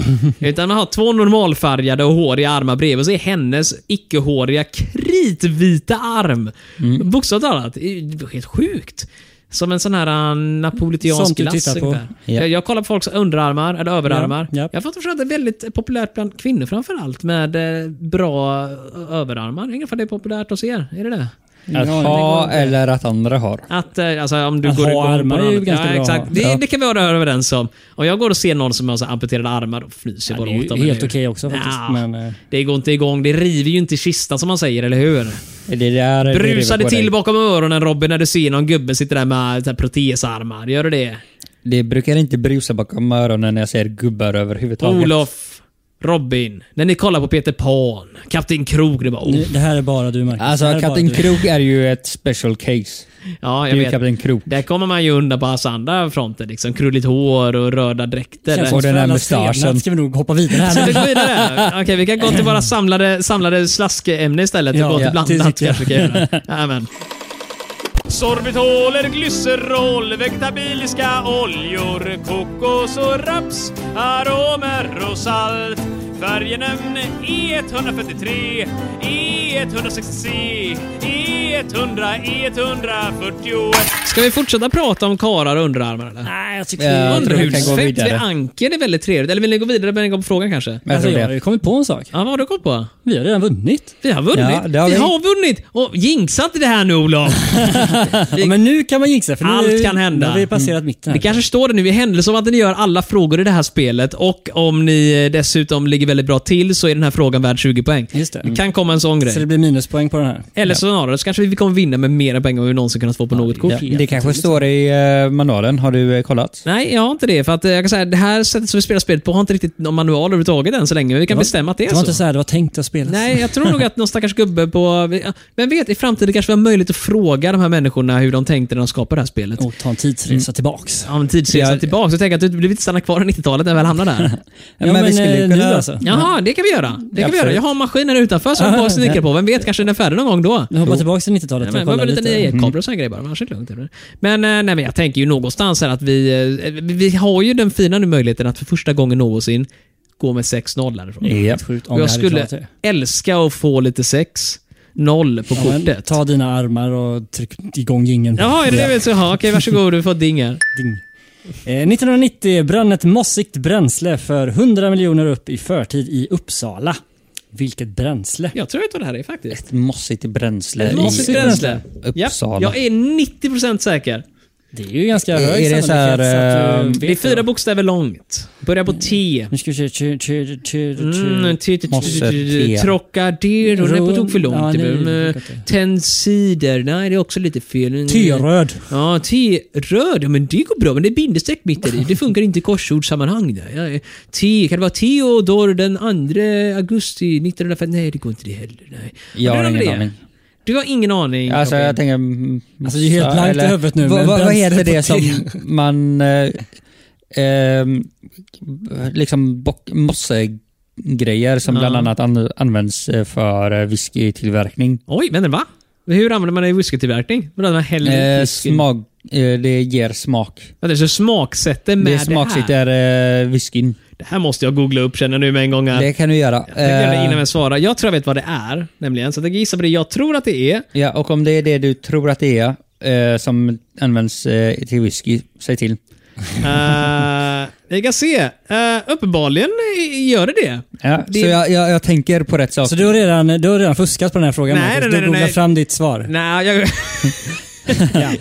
S3: Utan man har två normalfärgade och håriga armar bredvid och så är hennes icke-håriga kritvita arm.
S1: Mm.
S3: Bokstavligt talat. Det är helt sjukt. Som en sån här eh, napolitansk
S1: Sånt du
S3: glass
S1: tittar på.
S3: ungefär.
S2: Ja.
S3: Eh, Jag, jag kollar på folks underarmar eller överarmar.
S1: Ja, ja.
S3: Jag har fått förstå att det är väldigt populärt bland kvinnor framförallt med eh, bra eh, överarmar. Jag vet inte om det är populärt hos er. Är det det?
S2: Att ha eller att andra har.
S3: Att, eh, alltså, om du
S1: Att
S3: går
S1: ha
S3: går på
S1: armar
S3: något
S1: är ju
S3: annat-
S1: ganska
S3: ja,
S1: bra att
S3: Exakt.
S1: ha.
S3: Det,
S1: Ja.
S3: det kan vi vara överens om. Om jag går och ser någon som har så här amputerade armar, då fnyser jag
S1: Ja,
S3: bara
S1: det är
S3: åt dem.
S1: ju helt
S3: eller hur?
S1: okej också faktiskt.
S3: Nja,
S1: Men, eh,
S3: Det går inte igång. Det river ju inte i kistan som man säger, eller hur?
S2: Är det där det
S3: Brusar
S2: river
S3: det
S2: på
S3: till
S2: dig?
S3: bakom öronen Robin när du ser någon gubbe sitta där med så här, protesarmar? Gör du det?
S2: Det brukar inte brusa bakom öronen när jag ser gubbar överhuvudtaget.
S3: Olof, Robin, när ni kollar på Peter Pan, Kapten Krok, det bara
S2: Mm.
S3: oh.
S1: det här är bara du Marcus. Det här
S2: Alltså
S1: är bara
S2: Kapten
S1: du.
S2: Krok är ju ett special case.
S3: Ja,
S2: Det
S3: jag
S2: är ju
S3: vet.
S2: Kapten Krok.
S3: Där kommer man ju undan på hans andra fronter. Liksom. Krulligt hår och röda dräkter.
S1: Känns som
S2: Och den
S1: för
S2: här
S1: allas
S2: mustaschen.
S1: trevnad Ska vi nog hoppa vidare
S3: Ska
S1: här
S3: vi
S1: nu.
S3: gå vidare? Okej, vi kan gå till våra samlade, samlade slaskämne istället.
S1: Ja,
S3: och gå till
S1: ja,
S3: blandat
S1: det
S3: kanske
S1: tycker
S3: vi kan göra. Jajamän.
S5: Sorbitoler, glycerol, vegetabiliska oljor, kokos och raps, aromer och salt. E Färgenämn E143, E E160, E E100, E141.
S3: Ska vi fortsätta prata om karar och underarmar eller?
S1: Nej, jag tycker
S2: Ja, jag tror vi kan gå
S3: Underhudsfett vid
S2: vidare.
S3: anken är väldigt trevligt. Eller vill ni gå vidare med en gång på frågan kanske?
S2: Men jag
S1: Alltså,
S2: tror
S1: jag har
S2: det.
S1: ju kommit på en sak.
S3: Ja, vad har du koll på?
S1: Vi har redan vunnit.
S3: Vi har vunnit.
S2: Ja, det har
S3: vi.
S2: vi.
S3: har vunnit! Och jinxa inte det här nu Olof!
S1: Ja, men nu kan man jinxa. För nu,
S3: Allt kan hända. Mm.
S1: Nu har vi passerat mitten.
S3: Det
S1: här.
S3: kanske står det nu i händelse om att ni gör alla frågor i det här spelet och om ni eh, dessutom ligger väldigt bra till så är den här frågan värd 20 poäng.
S1: Just det. Mm.
S3: det kan komma en sån
S1: Så det
S3: grej.
S1: blir minuspoäng på den här.
S3: Eller så snarare så kanske vi kommer vinna med mer pengar än vi någonsin kunnat få på något kort.
S2: Ja, det kanske
S1: liksom.
S2: står i eh, manualen. Har du eh, kollat?
S3: Nej, jag har inte det. För att eh, jag kan säga, det här sättet som vi spelar spelet på har inte riktigt någon manual överhuvudtaget än så länge. Men vi kan bestämma att det är
S1: Det var
S3: så.
S1: inte så här det var tänkt att spelas.
S3: Nej, jag tror nog att någon stackars gubbe på... Vem vet, i framtiden kanske vi har möjlighet att fråga de här människorna hur de tänkte när de skapade det här spelet.
S1: Och ta en tidsresa
S3: Mm.
S1: tillbaks.
S3: Om tidsresan
S2: Ja.
S3: tillbaka, så tänker jag att du blir inte stanna kvar i 90-talet när vi väl hamnar där.
S2: Ja, men, vi skulle
S1: eh,
S2: ju
S1: nu
S2: kunna...
S1: alltså.
S3: Jaha, det kan vi göra. Det kan vi göra.
S2: Absolut.
S3: Jag har maskiner utanför som jag bara snickrar på. Vem vet, kanske den är färdig någon gång då.
S1: Nu hoppar tillbaks till 90-talet
S3: Nej,
S1: för
S3: men
S1: att
S3: det var
S1: kolla
S3: lite nya
S1: lite. Mm.
S3: elkablar och såna grejer bara. men Annars är det lugnt. eller? Men, eh, nej, men jag tänker ju någonstans här att vi, eh, vi- vi har ju den fina nu möjligheten att för första gången någonsin gå med 6-0 härifrån.
S2: Ja.
S1: Sjukt om
S3: Och
S1: vi hade
S3: jag skulle
S1: klarat det.
S3: älska att få lite sex. Noll på
S1: Ja, men
S3: kortet.
S1: Ta dina armar och tryck igång jingeln.
S3: Jaha, är det det
S1: Ja.
S3: vi ska ha? Okej, varsågod. Du får dingar.
S1: Ding. Eh, 1990 brann ett mossigt bränsle för 100 miljoner upp i förtid i Uppsala. Vilket bränsle.
S3: Jag tror inte det här är faktiskt.
S2: Ett mossigt bränsle.
S1: Eh,
S3: Ett
S2: i
S3: mossigt bränsle.
S2: Uppsala.
S3: Ja, jag är 90% säker.
S1: Det är ju ganska
S2: Är-
S1: hög
S2: är det så här,
S1: sannolikhet, så att du Mm.
S2: ehm,
S1: vet
S3: Det är fyra bokstäver långt. Börjar på T.
S1: Nu ska vi se... tju- tju- tju- tju-
S3: Mm, ty- ty- ty-
S2: Mosse,
S3: ty- ty- ty-
S2: te.
S3: Trocadero, det är på tok för
S1: Ja,
S3: långt.
S1: nej, det
S3: Mm,
S1: brukar inte.
S3: Tensider, nej det är också lite fel.
S1: Tyröd.
S3: Ja, T-röd, ja, men det går bra, men det är bindestreck mitt i. Det funkar inte i korsordssammanhang. där. Ja, eh, T, kan det vara Theodor den 2 augusti 1950? Nej, det går inte det heller. Nej.
S2: Jag
S3: Och det
S2: har
S3: är väl
S2: ingen
S3: det.
S2: aning.
S3: Du har ingen aning?
S2: Alltså
S3: Robin.
S2: jag tänker... mm,
S1: Alltså, det är helt
S2: så-
S1: blankt i
S2: eller-
S1: huvudet nu,
S2: Vad,
S1: men
S2: vad, vad
S1: bränsle
S2: heter
S1: på
S2: det som
S1: te.
S2: man... Eh, ehm, liksom bock, mossegrejer som
S3: Ja.
S2: bland annat an, används eh, för eh, whiskytillverkning.
S3: Oj, vänta va? Hur använder man det i whiskytillverkning? Vadå, man häller
S2: Eh,
S3: i whisky?
S2: smak, eh, det ger smak.
S3: Vänta, så smaksätter med
S2: Det
S3: det, här?
S2: smaksätter eh, whiskyn.
S3: Det här måste jag googla upp känner jag nu med en gång. Här.
S2: Det kan du göra.
S3: Jag tänkte göra det innan
S2: Eh,
S3: jag svarar. Jag tror jag vet vad det är, nämligen. Så jag tänker gissa på det jag tror att det är.
S2: Eh, ja, och om det är det du tror att det är eh, som används eh, till whisky, säg till.
S3: Eh, vi kan se. Eh, uppenbarligen eh, gör det det.
S2: Ja,
S3: Det-
S2: Så jag, jag, jag tänker på rätt sak.
S1: Så du har, redan, du har redan fuskat på den här frågan
S3: Nej,
S1: Marcus.
S3: nej,
S1: Du
S3: nej, nej,
S1: googlar
S3: nej.
S1: fram ditt svar.
S3: Nej, jag...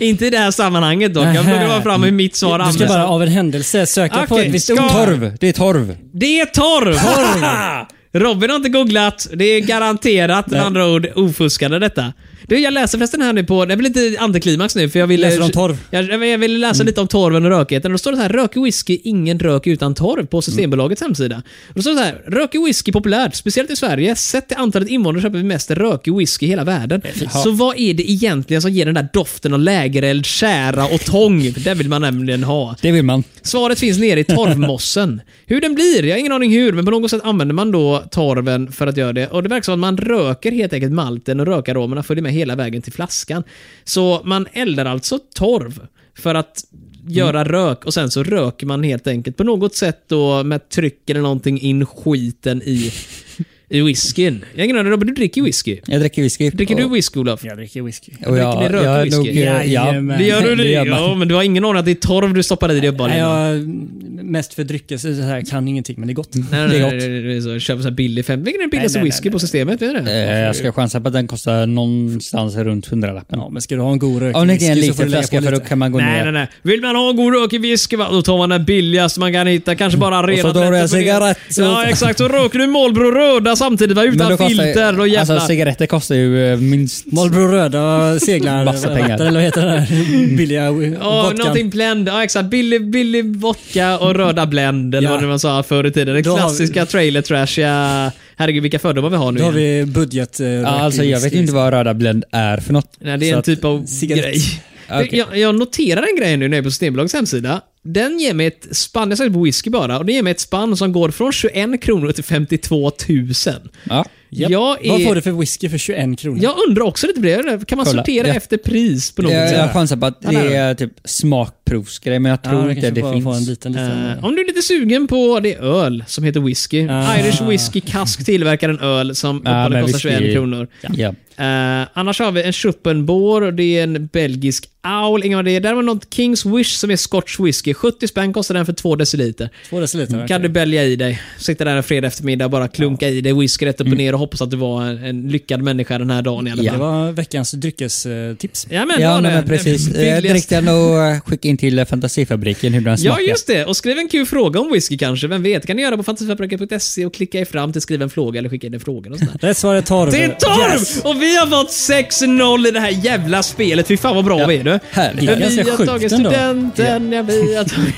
S3: Inte i det här sammanhanget dock. Jag plockar bara fram hur mitt svar
S1: Mm. Du ska
S3: används.
S1: bara av en händelse söka på
S3: Okej,
S1: ett visst
S3: ska-
S1: ord.
S2: Torv! Det är torv.
S3: Det är torv! Robin har inte googlat. Det är garanterat med andra ord ofuskande detta. Du, jag läser förresten här nu på... Det blir lite antiklimax nu för jag vill...
S1: Läser om torv. Mm.
S3: Jag, jag vill- jag vill läsa lite om torven och rökigheten. Då står det så här, rökig whisky, ingen rök utan torv på Systembolagets hemsida. Då står det så här, rökig whisky populärt, speciellt i Sverige. Sett till antalet invånare köper vi mest rökig whisky i hela världen. Så vad är det egentligen som ger den där doften av lägereld, tjära och tång? Det vill man nämligen ha.
S2: Det vill man.
S3: Svaret finns nere i torvmossen. Hur den blir, jag har ingen aning hur, men på något sätt använder man då torven för att göra det. Och det verkar som att man röker helt enkelt malten och rökaromerna följer med hela vägen till flaskan. Så man eldar alltså torv för att göra rök och sen så röker man helt enkelt på något sätt då med tryck eller någonting in skiten i, i whiskyn. Jag har ingen aning, Robin, du dricker ju whisky.
S2: Jag dricker whisky.
S3: Dricker du whisky, Olof?
S1: Jag dricker whisky.
S2: Och jag,
S3: Dricker ni
S2: jag,
S3: rökt
S2: är nog,
S3: whisky?
S2: eh, ja,
S1: Jajamän.
S3: Det gör du det?
S2: Det gör man.
S3: Ja, men du har ingen aning att det är torv du stoppar i dig
S1: Nej,
S3: uppenbarligen.
S1: jag mest för drycker, så det här kan ingenting, men det är gott.
S3: Nej,
S1: det
S3: nej,
S1: är
S3: nej, nej, nej, så köper så här billig fem. Vilken är den billigaste
S1: nej, nej,
S3: whisky på systemet? Vet du det?
S2: eh, jag ska chansa på att den kostar någonstans runt hundralappen.
S1: Ja, men ska du ha en god rökig
S2: Om det inte är en
S1: whisky så får
S2: liten
S1: du lägga
S2: flaska
S1: på
S2: för då
S1: lite.
S2: kan man gå
S3: Nej,
S2: ner.
S3: nej, nej. Vill man ha god rökig whisky, va, då tar man den billigaste man kan hitta. Kanske
S1: Mm.
S3: bara rena
S2: så tar du en
S3: Blätter på det.
S2: cigarett, så-
S3: Ja, exakt. Så röker du Marlboro röda samtidigt, va? utan filter. Då jävlar.
S2: alltså cigaretter kostar ju eh, minst...
S1: Marlboro röda seglar...
S2: Massa pengar.
S1: vatten, Eller vad heter den här billiga eh,
S3: Ja,
S1: vodkan?
S3: någonting blend. Ja, exakt. Billig, billig vodka och röda blend, eller
S1: Ja.
S3: vad det var man sa förr i tiden. Den
S1: Då har vi-
S3: klassiska trailer trashiga... Herregud, vilka fördomar vi har nu
S1: Då har
S3: igen.
S1: vi budget... eh,
S2: Ja,
S1: rökig
S2: alltså jag vet
S1: whisky.
S2: inte vad röda Blend är för något.
S3: Nej, det är
S2: Så
S3: en
S2: att- Ah,
S3: typ av
S1: cigarett.
S3: grej.
S2: Okej.
S3: Jag, jag noterar en grej nu när jag är på Systembolagets hemsida. Den ger mig ett spann, jag sökte på whisky bara, och det ger mig ett spann som går från 21 kronor till 52 000.
S2: Ja.
S1: Japp.
S3: Jag,
S1: Vad får
S3: är,
S1: du för whisky för 21 kronor?
S3: jag undrar också lite på det. Kan man
S2: Kolla,
S3: sortera
S2: ja.
S3: efter pris på något
S2: Jag,
S3: sätt?
S2: jag chansar på att
S3: Han är
S2: det är typ smakprovsgrej, men jag
S1: Ja,
S2: tror
S1: du
S2: inte
S1: kanske
S2: det
S1: får-
S2: finns.
S1: får en liten, liten...
S3: Eh, om du är lite sugen på det öl som heter whisky.
S1: Ah.
S3: Irish Whisky Cask tillverkar en öl som
S2: Ja,
S3: uppehållet
S2: Ah, men
S3: kostar
S2: whisky-
S3: 21 kronor.
S2: Ja.
S3: Eh, annars har vi en Schuppenbor, det är en belgisk aul, ingen aning vad det är. Där var något Kings Wish som är Scotch whisky. 70 spänn kostar den för två deciliter.
S1: Två deciliter? okej.
S3: Kan du bälja i dig. Sitta där en fredag eftermiddag och bara klunka i dig whisky rätt upp
S2: Mm.
S3: och ner och hoppas att du var en, en lyckad människa den här dagen i alla
S1: Det
S3: fall.
S1: var veckans dryckestips.
S3: Ja, men, det
S2: Ja,
S3: var
S2: nej,
S3: det.
S2: men precis.
S3: Den
S2: Eh, Drick
S3: billigaste-
S2: den och eh, skicka in till eh, Fantasifabriken hur den
S3: Ja,
S2: smakar.
S3: just det. Och skriv en kul fråga om whisky kanske. Vem vet? kan ni göra på fantasifabriken.se och klicka er fram till skriv en fråga eller skicka in en fråga. Och sådär.
S1: Rätt svar är torv.
S3: Det är torv!
S1: Yes!
S3: Och vi har fått 6-0 i det här jävla spelet. Fy fan vad bra
S2: Ja.
S3: vi är du.
S2: Härligt.
S1: Det är
S3: Vi
S1: ganska
S3: har
S1: sjukt
S3: tagit
S1: ändå.
S3: studenten, ja, vi har tagit...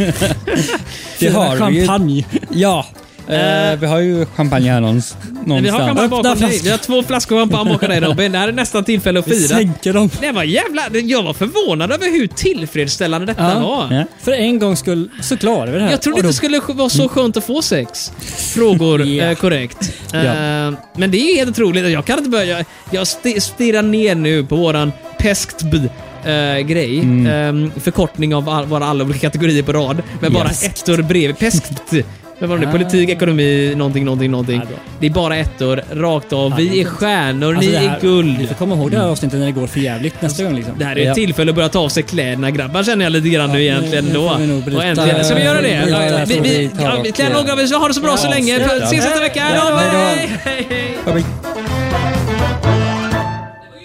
S2: Det har vi ju.
S1: Champagne.
S2: Ja. Eh, vi har ju champagne här någons-
S3: Nej,
S2: någonstans.
S3: Vi har champagne bakom
S1: Öppna
S3: dig. Vi har två flaskor champagne bakom dig Robin. Det här är nästan tillfälle att
S1: Vi
S3: fira.
S1: sänker dem.
S3: Det var jävla... Jag var förvånad över hur tillfredsställande detta var.
S2: Ja.
S1: För en gångs skull så klarar vi det här.
S3: Jag trodde
S1: Och
S3: inte
S1: då-
S3: det skulle vara så skönt att få sex frågor
S1: Ja.
S3: eh, korrekt.
S2: Ja.
S3: Eh, men det är ju helt otroligt. Jag kan inte börja... Jag, jag sti- stirrar ner nu på våran pesktby. eh, grej.
S1: Mm.
S3: Ehm, Eh, förkortning av all, våra alla olika kategorier på rad. Med bara
S2: Yes.
S3: ettor bredvid. Peskt. Men vad var det? Politik, ekonomi, någonting, någonting, någonting.
S1: Ja, Ah. bra. Ah,
S3: det är bara ettor, rakt av. Vi är stjärnor,
S1: Alltså,
S3: ni
S1: det
S3: är
S1: här- Vi
S3: guld.
S1: får komma ihåg det här avsnittet när det går för jävligt nästa gång liksom.
S3: Det här är typ- ett
S2: Ja.
S3: tillfälle att börja ta av sig kläderna grabbar känner jag lite grann nu
S1: nu-
S3: egentligen
S1: nu får
S3: då.
S1: vi nog bryta-
S3: Och äntligen, ska vi göra det?
S1: bryta-
S3: Ja, Vi, vi,
S1: bryta
S3: ja,
S1: rakt
S3: vi klär
S1: igen.
S3: några av er, ha det så bra så länge.
S1: slut.
S3: Ses nästa vecka. Hej då!
S1: hej då.
S3: Hej, hej, hej.
S2: Bye-bye.
S3: Det var ju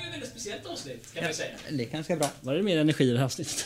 S3: ett väldigt speciellt avsnitt kan man säga.
S2: Det är ganska bra.
S1: Var det mer energi i det här avsnittet?